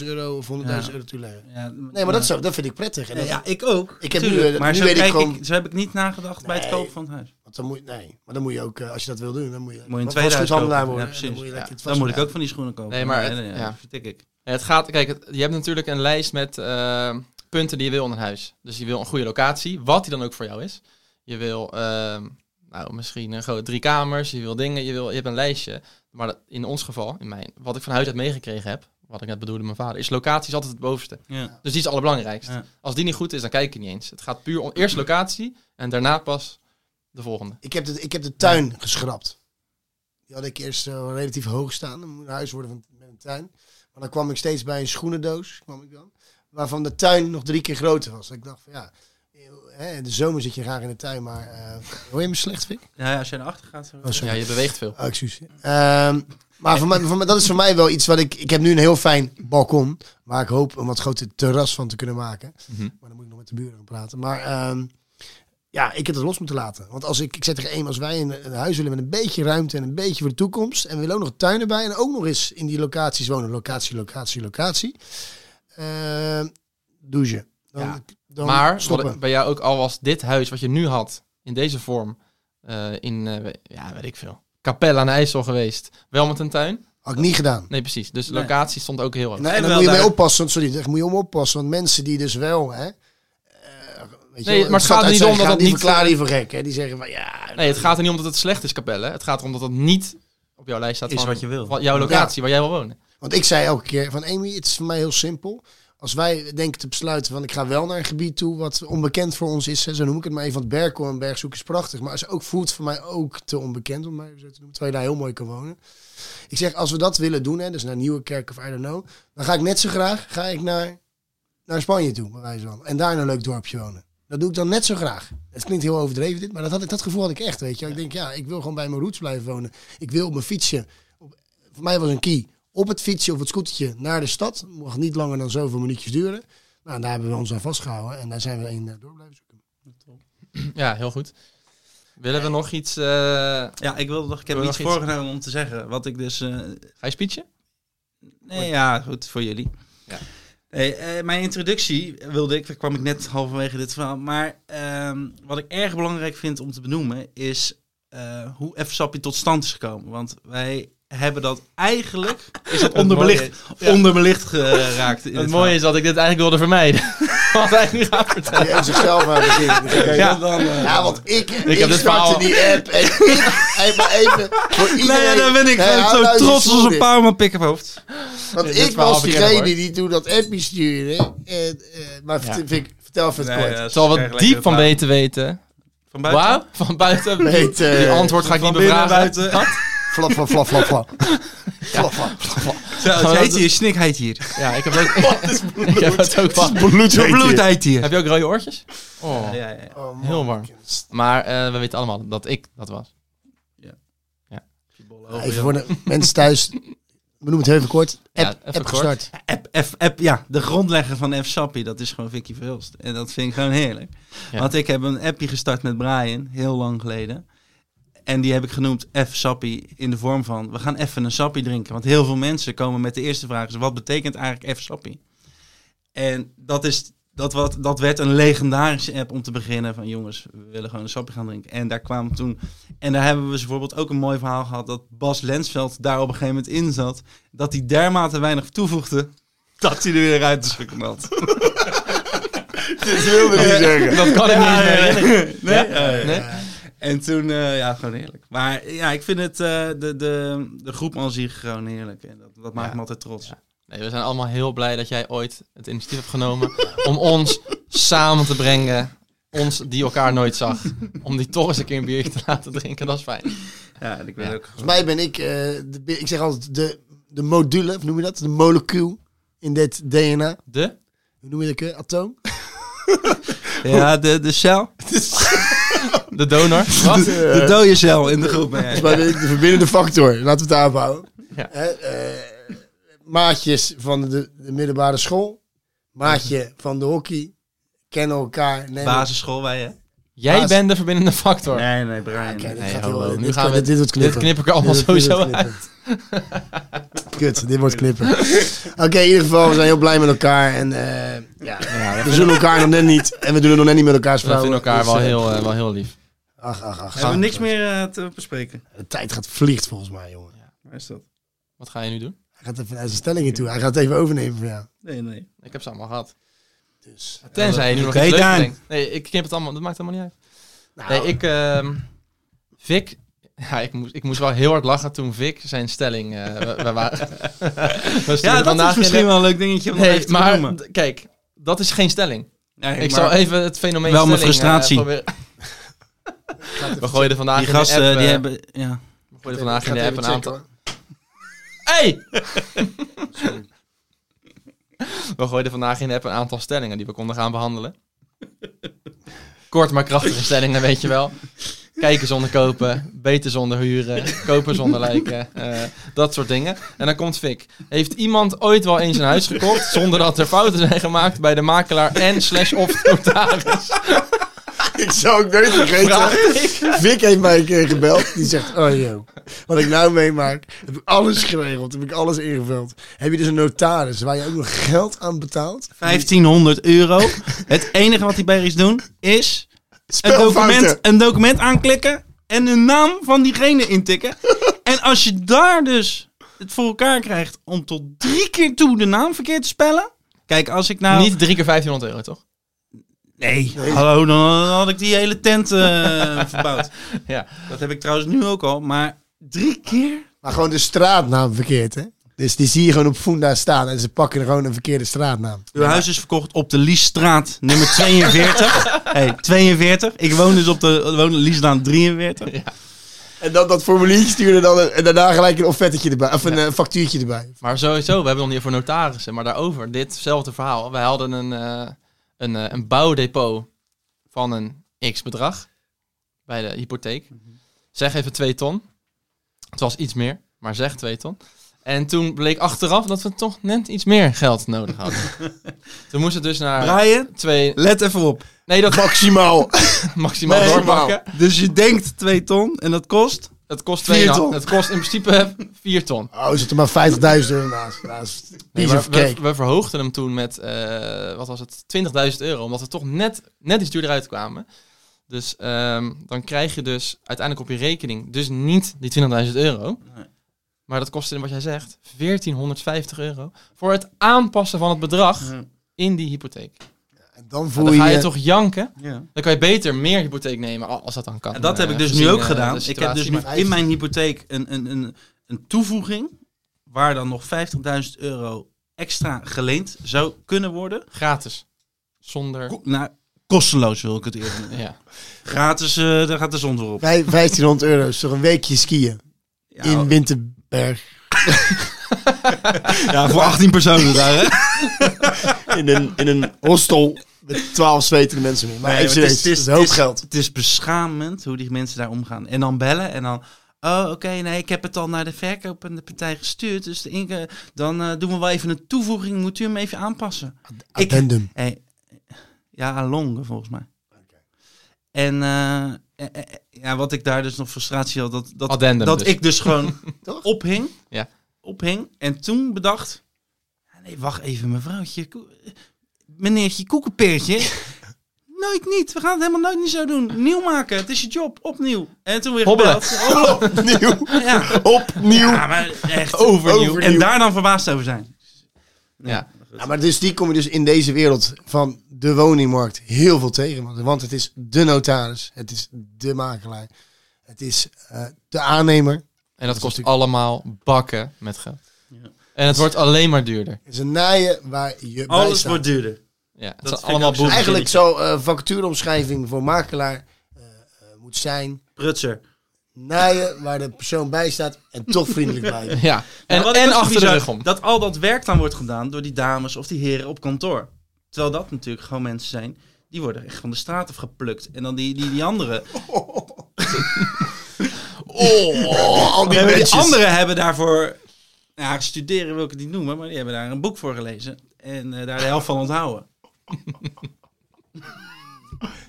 Speaker 3: 70.000 euro of 100.000
Speaker 4: Ja.
Speaker 3: euro toeleggen.
Speaker 4: Ja,
Speaker 3: Nee, maar dat, zo, dat vind ik prettig. En
Speaker 4: Ja,
Speaker 3: dat-
Speaker 4: ja, ik ook.
Speaker 3: Ik heb nu,
Speaker 4: Tuurlijk,
Speaker 3: eh,
Speaker 4: maar
Speaker 3: nu
Speaker 4: zo,
Speaker 3: weet ik
Speaker 4: kijk
Speaker 3: gewoon-
Speaker 4: ik- zo heb ik niet nagedacht bij het
Speaker 3: Nee.
Speaker 4: kopen van het huis.
Speaker 3: want dan moet, nee, maar dan moet je ook, eh, als je dat wil doen, dan moet je,
Speaker 4: Moet je een
Speaker 3: want
Speaker 4: tweede huis
Speaker 3: vastgoedhandelaar
Speaker 4: kopen.
Speaker 3: worden.
Speaker 4: Ja,
Speaker 3: en dan
Speaker 4: precies.
Speaker 3: moet je
Speaker 2: Ja,
Speaker 3: lekker het
Speaker 4: Dan moet ik
Speaker 3: vastgoed-
Speaker 4: ook van die schoenen kopen.
Speaker 2: Nee, maar het-
Speaker 4: nee, nee,
Speaker 2: ja.
Speaker 4: dat vertik ik.
Speaker 2: Het gaat, kijk, het- je hebt natuurlijk een lijst met eh, punten die je wil in een huis. Dus je wil een goede locatie, wat die dan ook voor jou is. Je wil, ehm, nou, misschien een groot drie kamers, je wil dingen, je, wil, je hebt een lijstje. Maar dat- in ons geval, in mijn, wat ik van huis uit meegekregen heb, wat ik net bedoelde mijn vader, is locatie is altijd het bovenste.
Speaker 4: Ja.
Speaker 2: Dus die is het allerbelangrijkste.
Speaker 4: Ja.
Speaker 2: Als die niet goed is, dan kijk je niet eens. Het gaat puur om eerst locatie en daarna pas de volgende.
Speaker 3: Ik heb, de, ik heb de tuin geschrapt. Die had ik eerst eh, relatief hoog staan. Dan moet een huis worden van, met een tuin. Maar dan kwam ik steeds bij een schoenendoos. Kwam ik dan, waarvan de tuin nog drie keer groter was. Dat ik dacht van ja, eh, hè, in de zomer zit je graag in de tuin. Maar eh, hoor je me slecht, Vic?
Speaker 4: Ja, ja, als jij naar achter gaat. zo-
Speaker 3: Oh, sorry.
Speaker 2: Ja, je beweegt veel.
Speaker 3: Oh, excuus. Ehm, maar voor mij, voor mij- dat is voor mij wel iets wat ik... Ik heb nu een heel fijn balkon. Waar ik hoop een wat groter terras van te kunnen maken.
Speaker 2: Mhm.
Speaker 3: Maar dan moet ik nog met de buren gaan praten. Maar ehm, ja, ik heb het los moeten laten. Want als ik, ik zeg tegen één, als wij een, een huis willen met een beetje ruimte en een beetje voor de toekomst. En we willen ook nog een tuin erbij. En ook nog eens in die locaties wonen. Locatie, locatie, locatie. Ehm douche. Dan,
Speaker 2: Ja.
Speaker 3: dan
Speaker 2: maar wat
Speaker 3: stoppen.
Speaker 2: ik bij jou ook al was dit huis wat je nu had, in deze vorm, eh, in, eh, we- ja, weet ik veel, Capelle aan de IJssel geweest. Wel met een tuin?
Speaker 3: Had ik niet gedaan.
Speaker 2: Nee, precies. Dus
Speaker 4: Nee.
Speaker 2: locatie stond ook heel hoog.
Speaker 3: Nee, en dan
Speaker 4: wel
Speaker 3: moet je mee
Speaker 4: daar-
Speaker 3: oppassen. want- Sorry, daar moet je om oppassen. Want mensen die dus wel, hè. eh, weet
Speaker 2: Nee,
Speaker 3: wel,
Speaker 2: maar het
Speaker 3: de
Speaker 2: gaat
Speaker 3: stad
Speaker 2: er
Speaker 3: uit
Speaker 2: niet
Speaker 3: zijn
Speaker 2: om dat
Speaker 3: gegaan,
Speaker 2: dat
Speaker 3: die
Speaker 2: niet- eh,
Speaker 3: verklaren die voor gek, hè. Die zeggen van, ja...
Speaker 2: Nee, het gaat er niet om dat het slecht is, Capelle. Het gaat erom dat het niet op jouw lijst staat
Speaker 4: Is
Speaker 2: van,
Speaker 4: wat je wil.
Speaker 2: van jouw locatie, waar jij wil wonen.
Speaker 3: Want ik zei elke keer van, Amy, het is voor mij heel simpel. Als wij denken te besluiten van, ik ga wel naar een gebied toe wat onbekend voor ons is. Hè, zo noem ik het maar even, want Berkel en Bergzoek is prachtig. Maar als ook voelt voor mij ook te onbekend, om maar even zo te noemen. Terwijl je daar heel mooi kan wonen. Ik zeg, als we dat willen doen, hè, dus naar Nieuwekerk of I don't know. Dan ga ik net zo graag ga ik naar, naar Spanje toe, bij wijze van. En daar in een leuk dorpje wonen. Dat doe ik dan net zo graag. Het klinkt heel overdreven dit, maar dat, had ik, dat gevoel had ik echt, weet je. Ik denk, ja, ik wil gewoon bij mijn roots blijven wonen. Ik wil op mijn fietsje. Op, voor mij was een key. Op het fietsje of het scootertje naar de stad. Mocht niet langer dan zoveel minuutjes duren. Nou, en daar hebben we ons aan vastgehouden. En daar zijn we één eh, door blijven zoeken.
Speaker 2: Ja, heel goed. Willen we nog iets? eh, ga
Speaker 4: Ja, ik wilde nog, ik heb
Speaker 2: Wil je
Speaker 4: iets
Speaker 2: nog iets?
Speaker 4: voorgenomen om te zeggen. Wat ik dus eh,
Speaker 2: je speechen?
Speaker 4: Nee, ja, goed voor jullie.
Speaker 2: Ja.
Speaker 4: Nee, eh, mijn introductie wilde ik, daar kwam ik net halverwege dit verhaal. Maar ehm, wat ik erg belangrijk vind om te benoemen is eh, hoe F-Sappie tot stand is gekomen. Want wij hebben dat eigenlijk is het onderbelicht, onderbelicht geraakt. In
Speaker 2: Het
Speaker 4: dit
Speaker 2: mooie is dat ik dit eigenlijk wilde vermijden. Wat hij nu gaat vertellen.
Speaker 3: Die heeft zichzelf aan het begin.
Speaker 4: verhaal.
Speaker 3: Ja.
Speaker 4: Ja, dan, eh,
Speaker 3: Ja, want ik, ik,
Speaker 2: heb dit verhaal-
Speaker 3: startte die app en ik, hey, maar even voor
Speaker 4: Nee,
Speaker 3: iedereen...
Speaker 4: ja, daar ben ik
Speaker 3: Hey,
Speaker 4: gewoon
Speaker 3: hou nou
Speaker 4: zo
Speaker 3: eens
Speaker 4: trots
Speaker 3: je
Speaker 4: als
Speaker 3: voeten.
Speaker 4: een Parma pick-up hoofd.
Speaker 3: Want
Speaker 2: dit
Speaker 3: ik
Speaker 2: verhaal
Speaker 3: was
Speaker 2: bekennen,
Speaker 3: diegene
Speaker 2: hoor.
Speaker 3: die toen dat appje stuurde. En, eh, maar
Speaker 2: Ja.
Speaker 3: vert- vind ik- vertel even het kort.
Speaker 2: Ik zal wat diep van weten weten.
Speaker 4: Van buiten.
Speaker 2: Wauw, van buiten.
Speaker 3: Weten.
Speaker 2: Die antwoord ga ik
Speaker 4: Van
Speaker 2: niet
Speaker 4: binnen
Speaker 2: bevragen.
Speaker 4: buiten.
Speaker 3: Flap, flap, flap, flap, flap. Flap, flap, flap, flap.
Speaker 4: Zo, het heet hier, snik heet hier.
Speaker 2: Ja, ik heb ook. ik heb het ook wel.
Speaker 3: Bloed,
Speaker 4: Zo bloed heet hier.
Speaker 2: Heb je ook rode oortjes? Oh.
Speaker 4: Ja, ja, ja.
Speaker 3: Oh, man.
Speaker 2: Heel warm. Maar eh, we weten allemaal dat ik dat was.
Speaker 3: Even voor de mensen thuis. We noemen het heel even kort.
Speaker 2: Ja,
Speaker 3: App,
Speaker 2: even
Speaker 3: app
Speaker 2: kort.
Speaker 3: gestart.
Speaker 4: App, F, app, ja, de grondlegger van F Sappie, dat is gewoon Vicky Verhulst. En dat vind ik gewoon heerlijk.
Speaker 2: Ja.
Speaker 4: Want ik heb een appje gestart met Brian, heel lang geleden. En die heb ik genoemd F Sappie in de vorm van, we gaan even een sappie drinken. Want heel veel mensen komen met de eerste vraag, is, wat betekent eigenlijk F Sappie? En dat, is, dat, wat, dat werd een legendarische app om te beginnen van, jongens, we willen gewoon een sappie gaan drinken. En daar kwamen toen, en daar hebben we dus bijvoorbeeld ook een mooi verhaal gehad, dat Bas Lensveld daar op een gegeven moment in zat. Dat hij dermate weinig toevoegde, dat hij er weer uit is geknald.
Speaker 3: Dat wilde ik zeggen.
Speaker 2: Dat kan ik niet eens meer herinneren.
Speaker 4: Nee?
Speaker 2: Nee?
Speaker 4: En toen, eh, ja, gewoon heerlijk. Maar ja, ik vind het, eh, de, de, de groep aan zich gewoon heerlijk. En dat, dat maakt
Speaker 2: Ja.
Speaker 4: me altijd trots.
Speaker 2: Ja. Nee, we zijn allemaal heel blij dat jij ooit het initiatief hebt genomen om ons samen te brengen. Ons die elkaar nooit zag. Om die toch eens een keer een biertje te laten drinken, dat is fijn.
Speaker 4: Ja, en ik ben
Speaker 2: Ja.
Speaker 4: ook...
Speaker 3: Volgens mij ben ik, eh, de, ik zeg altijd, de de module, of noem je dat? De molecuul in dit DNA.
Speaker 2: De?
Speaker 3: Hoe noem je dat? eh, Atoom?
Speaker 4: Ja, de, de cel.
Speaker 2: De donor? Wat?
Speaker 4: De dode cel in de groep. ben jij.
Speaker 3: Volgens mij ben ik de verbindende factor. Laten we het daarop houden.
Speaker 2: Ja.
Speaker 3: Hè, eh, maatjes van de, de middelbare school. Maatje van de hockey. Kennen elkaar. nemen-
Speaker 4: Basisschool wij, hè?
Speaker 2: Jij
Speaker 3: Baas.
Speaker 2: bent de verbindende factor.
Speaker 4: Nee, nee, Brian.
Speaker 3: Oké, dit
Speaker 2: Nee,
Speaker 3: gaat
Speaker 2: hallo,
Speaker 3: heel-
Speaker 2: nu
Speaker 3: dit
Speaker 2: gaan
Speaker 3: kan-
Speaker 2: we-
Speaker 3: dit- dit wordt
Speaker 2: Dit
Speaker 3: knippen.
Speaker 2: knip ik er allemaal
Speaker 3: Dit wordt- dit
Speaker 2: sowieso
Speaker 3: wordt
Speaker 2: uit.
Speaker 3: knippen. Kut, dit wordt knippen. Oké, in ieder geval, we zijn heel blij met elkaar. En eh, ja, we zullen elkaar nog net niet. En we doen het nog net niet met elkaars
Speaker 2: We vinden
Speaker 3: vrouwen.
Speaker 2: elkaar
Speaker 3: Dus,
Speaker 2: wel
Speaker 3: eh,
Speaker 2: heel, eh, wel heel lief.
Speaker 3: Ach, ach, ach.
Speaker 4: We hebben niks meer eh, te bespreken.
Speaker 3: De tijd gaat vliegt volgens mij, jongen.
Speaker 4: Waar is dat?
Speaker 2: Wat ga je nu doen?
Speaker 3: Hij gaat even naar zijn stellingen toe. Hij gaat het even overnemen van jou.
Speaker 4: Nee, nee.
Speaker 2: Ik heb ze allemaal gehad.
Speaker 3: Dus,
Speaker 2: Tenzij je nu nog
Speaker 4: Oké,
Speaker 2: iets leuks
Speaker 4: Daan.
Speaker 2: denkt. Nee, ik knip het allemaal. Dat maakt helemaal niet uit.
Speaker 3: nou,
Speaker 2: Nee, ik... ehm, Vic... Ja, ik moest, ik moest wel heel hard lachen toen Vic zijn stelling... eh, we, we waren, we stuurden
Speaker 4: Ja, dat
Speaker 2: vandaag
Speaker 4: is
Speaker 2: in
Speaker 4: misschien
Speaker 2: de-
Speaker 4: wel een leuk dingetje om nog
Speaker 2: Nee,
Speaker 4: even te
Speaker 2: maar
Speaker 4: noemen.
Speaker 2: d- kijk. Dat is geen stelling.
Speaker 4: Nee,
Speaker 2: ik
Speaker 4: maar
Speaker 2: zal even het fenomeen
Speaker 4: wel mijn
Speaker 2: stelling, eh,
Speaker 4: frustratie.
Speaker 2: proberen-
Speaker 3: gaat even
Speaker 2: we gooien er vandaag
Speaker 4: Die
Speaker 2: in de app,
Speaker 4: gasten, die
Speaker 2: eh,
Speaker 4: hebben... Ja.
Speaker 2: we gooien er vandaag in
Speaker 3: gaat
Speaker 2: de app
Speaker 3: even
Speaker 2: een aantal...
Speaker 3: checken, hoor.
Speaker 2: Hey! we gooiden vandaag in de app een aantal stellingen die we konden gaan behandelen. Kort maar krachtige stellingen, weet je wel. Kijken zonder kopen, beter zonder huren, kopen zonder lijken, eh, dat soort dingen. En dan komt Fik. Heeft iemand ooit wel eens een huis gekocht zonder dat er fouten zijn gemaakt bij de makelaar en slash of notaris?
Speaker 3: Ik zou ook nooit vergeten. Vic heeft mij een keer gebeld. Die zegt, oh joh, wat ik nou meemaak, heb ik alles geregeld, heb ik alles ingevuld. Heb je dus een notaris waar je ook nog geld aan betaalt?
Speaker 4: 1500 euro. Het enige wat die berries doen is een
Speaker 3: Spelfouten.
Speaker 4: document, een document aanklikken en de naam van diegene intikken. En als je daar dus het voor elkaar krijgt om tot drie keer toe de naam verkeerd te spellen. Kijk, als ik nou...
Speaker 2: Niet drie keer 1500 euro, toch?
Speaker 4: Nee, hallo, dan had ik die hele tent eh, verbouwd.
Speaker 2: Ja.
Speaker 4: Dat heb ik trouwens nu ook al, maar drie keer?
Speaker 3: Maar gewoon de straatnaam verkeerd, hè? Dus die zie je gewoon op Funda staan en ze pakken gewoon een verkeerde straatnaam.
Speaker 4: Uw huis is verkocht op de Liesstraat nummer 42. hey, 42. Ik woon dus op de, woon Liesstraat 43.
Speaker 3: En dan dat formuliertje sturen dan en daarna gelijk een offertetje erbij, of een eh, factuurtje erbij.
Speaker 2: Maar sowieso, we hebben nog niet voor notarissen, maar daarover, ditzelfde verhaal. Wij hadden een, eh, een, eh, een bouwdepot van een x-bedrag bij de hypotheek.
Speaker 3: Mhm.
Speaker 2: Zeg even 2 ton. Het was iets meer, maar zeg 2 ton. En toen bleek achteraf dat we toch net iets meer geld nodig hadden. toen moest het dus naar
Speaker 4: Brian,
Speaker 2: twee...
Speaker 4: let even op.
Speaker 2: Nee, dat
Speaker 3: Maximaal.
Speaker 2: maximaal
Speaker 3: Nee,
Speaker 2: doorpakken.
Speaker 4: Dus je denkt 2 ton en dat kost.
Speaker 2: Het kost,
Speaker 3: Vier
Speaker 2: 2,
Speaker 3: ton.
Speaker 2: het kost in principe 4 ton.
Speaker 3: Oh, zit er maar 50.000 euro naast. naast.
Speaker 2: Nee,
Speaker 3: Piece
Speaker 2: maar
Speaker 3: of
Speaker 2: we,
Speaker 3: cake.
Speaker 2: we verhoogden hem toen met, eh, wat was het, 20.000 euro. Omdat we toch net, net iets duurder uitkwamen. Dus ehm, dan krijg je dus uiteindelijk op je rekening dus niet die 20.000 euro.
Speaker 4: Nee.
Speaker 2: Maar dat kostte, wat jij zegt, 1450 euro. Voor het aanpassen van het bedrag in die hypotheek.
Speaker 3: En dan
Speaker 2: Nou,
Speaker 3: voel
Speaker 2: dan
Speaker 3: je,
Speaker 2: ga je toch janken.
Speaker 4: Ja.
Speaker 2: Dan kan je beter meer hypotheek nemen, al- als dat dan kan.
Speaker 4: En dat heb
Speaker 2: eh,
Speaker 4: ik dus nu
Speaker 2: gezien,
Speaker 4: ook
Speaker 2: eh,
Speaker 4: gedaan.
Speaker 2: de
Speaker 4: Ik heb dus
Speaker 2: situatie.
Speaker 4: nu
Speaker 2: Maar-
Speaker 4: in mijn hypotheek een, een, een, een toevoeging. Waar dan nog 50.000 euro extra geleend zou kunnen worden.
Speaker 2: Gratis. Zonder...
Speaker 4: Ko- nou, kosteloos wil ik het eerder noemen.
Speaker 2: Ja.
Speaker 4: Gratis, eh, daar gaat de zon erop.
Speaker 3: Vij- 1500 euro is toch een weekje skiën
Speaker 4: Ja, oh.
Speaker 3: in Winterberg.
Speaker 4: ja, voor 18 personen daar, hè?
Speaker 3: In een, in een hostel met 12 zwetende mensen mee. Maar
Speaker 4: Nee,
Speaker 3: even
Speaker 4: maar het
Speaker 3: serieus,
Speaker 4: is-
Speaker 3: dat
Speaker 4: het
Speaker 3: is
Speaker 4: is-
Speaker 3: een hoop geld.
Speaker 4: Het is beschamend hoe die mensen daar omgaan. En dan bellen en dan... Oh, oké, nee, ik heb het al naar de verkopende partij gestuurd. Dus de inke- dan eh, doen we wel even een toevoeging. Moet u hem even aanpassen? Ik-
Speaker 3: Addendum.
Speaker 4: Hey, Eh, ja, Alonge volgens mij. En eh, eh, eh, ja, wat ik daar dus nog frustratie had, dat, dat,
Speaker 2: Addendum
Speaker 4: dat
Speaker 2: dus.
Speaker 4: ik dus gewoon
Speaker 3: Toch?
Speaker 4: ophing.
Speaker 2: Ja.
Speaker 4: Ophing. En toen bedacht, ja, nee, wacht even mevrouwtje, koe- eh, meneertje koekenpeertje. nooit niet, we gaan het helemaal nooit niet zo doen. Nieuw maken, het is je job, opnieuw. En toen weer
Speaker 2: Hobbelen.
Speaker 4: gebeld. Oh,
Speaker 3: Opnieuw.
Speaker 4: Ja.
Speaker 3: Opnieuw.
Speaker 4: ja, maar echt.
Speaker 3: Overnieuw.
Speaker 4: En daar dan verbaasd over zijn.
Speaker 2: Ja.
Speaker 3: Ja, maar dus die kom je dus in deze wereld van de woningmarkt heel veel tegen. Want, want het is de notaris, het is de makelaar, het is eh, de aannemer.
Speaker 2: En dat kost
Speaker 3: natuurlijk-
Speaker 2: allemaal bakken met geld.
Speaker 4: Ja.
Speaker 2: En het wordt alleen maar duurder.
Speaker 3: Het is een naaien waar je bij
Speaker 4: Alles
Speaker 3: staat.
Speaker 4: wordt duurder.
Speaker 2: Ja, het
Speaker 4: Dat
Speaker 2: zijn
Speaker 4: vind ik
Speaker 2: allemaal
Speaker 4: ook zo.
Speaker 2: boeren.
Speaker 3: Eigenlijk zou eh vacatureomschrijving voor makelaar eh, eh, moet zijn...
Speaker 4: Prutser.
Speaker 3: naaien waar de persoon bij staat en toch vriendelijk blijven.
Speaker 2: Ja. En,
Speaker 4: Maar wat ik
Speaker 2: en
Speaker 4: ook zo
Speaker 2: achter de
Speaker 4: bizar,
Speaker 2: rug om.
Speaker 4: Dat al dat werk dan wordt gedaan door die dames of die heren op kantoor. Terwijl dat natuurlijk gewoon mensen zijn. Die worden echt van de straat af geplukt. En dan die, die, die anderen.
Speaker 3: Oh, al
Speaker 4: Die,
Speaker 3: die mensen.
Speaker 4: anderen hebben daarvoor. Ja, studeren wil ik het niet noemen. Maar die hebben daar een boek voor gelezen. En eh, daar de helft van onthouden.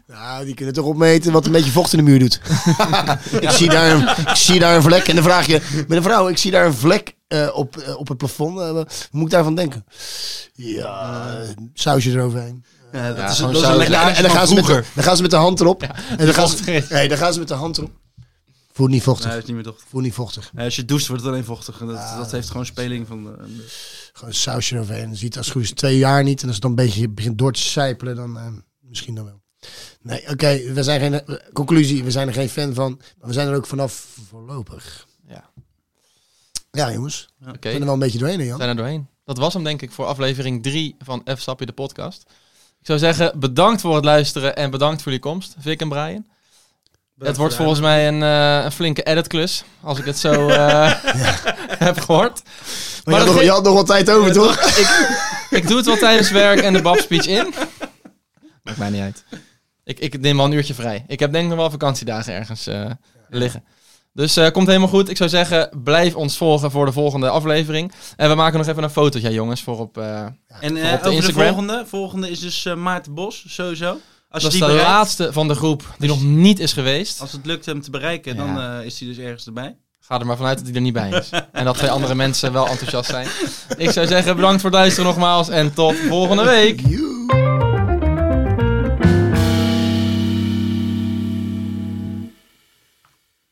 Speaker 3: Nou, die kunnen toch opmeten wat een beetje vocht in de muur doet. ik, zie daar een, ik zie daar een vlek. En dan vraag je met een vrouw, ik zie daar een vlek eh, op, eh, op het plafond. Eh, wat moet ik daarvan denken? Ja, eh, sausje eroverheen.
Speaker 4: Ja, dat
Speaker 2: Ja,
Speaker 4: is,
Speaker 3: Gewoon
Speaker 4: dat is
Speaker 3: saus.
Speaker 4: een
Speaker 3: En dan-
Speaker 4: lekkage
Speaker 3: en dan
Speaker 4: van
Speaker 3: gaan, ze met de,
Speaker 4: vroeger.
Speaker 3: dan gaan ze met de hand erop. en dan gaan, ze,
Speaker 2: vochtig.
Speaker 3: nee, dan gaan ze met de hand erop. Voel niet vochtig.
Speaker 4: Nee, dat is niet meer toch.
Speaker 3: Voel niet vochtig.
Speaker 4: Nee, als je doucht wordt het alleen vochtig. En Dat, dat heeft gewoon speling van... eh,
Speaker 3: Gewoon sausje eroverheen. Dan ziet het als het goed is twee jaar niet. En als het dan een beetje begint door te sijpelen, dan eh, misschien dan wel. Nee, oké. we zijn geen... eh, Conclusie, we zijn er geen fan van. Maar we zijn er ook vanaf voorlopig.
Speaker 2: Ja.
Speaker 3: Ja, jongens. We
Speaker 2: Oké,
Speaker 3: zijn er wel een beetje doorheen, hè, Jan.
Speaker 2: zijn er doorheen. Dat was hem denk ik voor aflevering 3 van F Sappie de podcast. Ik zou zeggen, bedankt voor het luisteren en bedankt voor jullie komst, Vic en Brian. het wordt volgens mij een, eh, een flinke editklus, als ik het zo eh, heb gehoord.
Speaker 3: Maar
Speaker 2: dat
Speaker 3: je had, nog,
Speaker 2: ge-
Speaker 3: je had nog wat tijd over, toch?
Speaker 2: ik, ik doe het wel tijdens werk en de babspeech in. Maakt mij niet uit. Ik, ik neem wel een uurtje vrij. Ik heb denk ik nog wel vakantiedagen ergens eh, liggen. Dus eh, komt helemaal goed. Ik zou zeggen, blijf ons volgen voor de volgende aflevering. En we maken nog even een fotootje, jongens, voor op... eh,
Speaker 4: En eh,
Speaker 2: Op de
Speaker 4: over
Speaker 2: Instagram.
Speaker 4: de volgende. Volgende is dus eh, Maarten Bos, sowieso. Als je
Speaker 2: dat is
Speaker 4: die
Speaker 2: de
Speaker 4: bereikt-
Speaker 2: laatste van de groep die nog niet is geweest.
Speaker 4: Als het lukt hem te bereiken, dan eh, is hij dus ergens erbij.
Speaker 2: Ga er maar vanuit dat hij er niet bij is. En dat twee andere mensen wel enthousiast zijn. Ik zou zeggen, bedankt voor het luisteren nogmaals. En tot volgende week.
Speaker 3: Joe.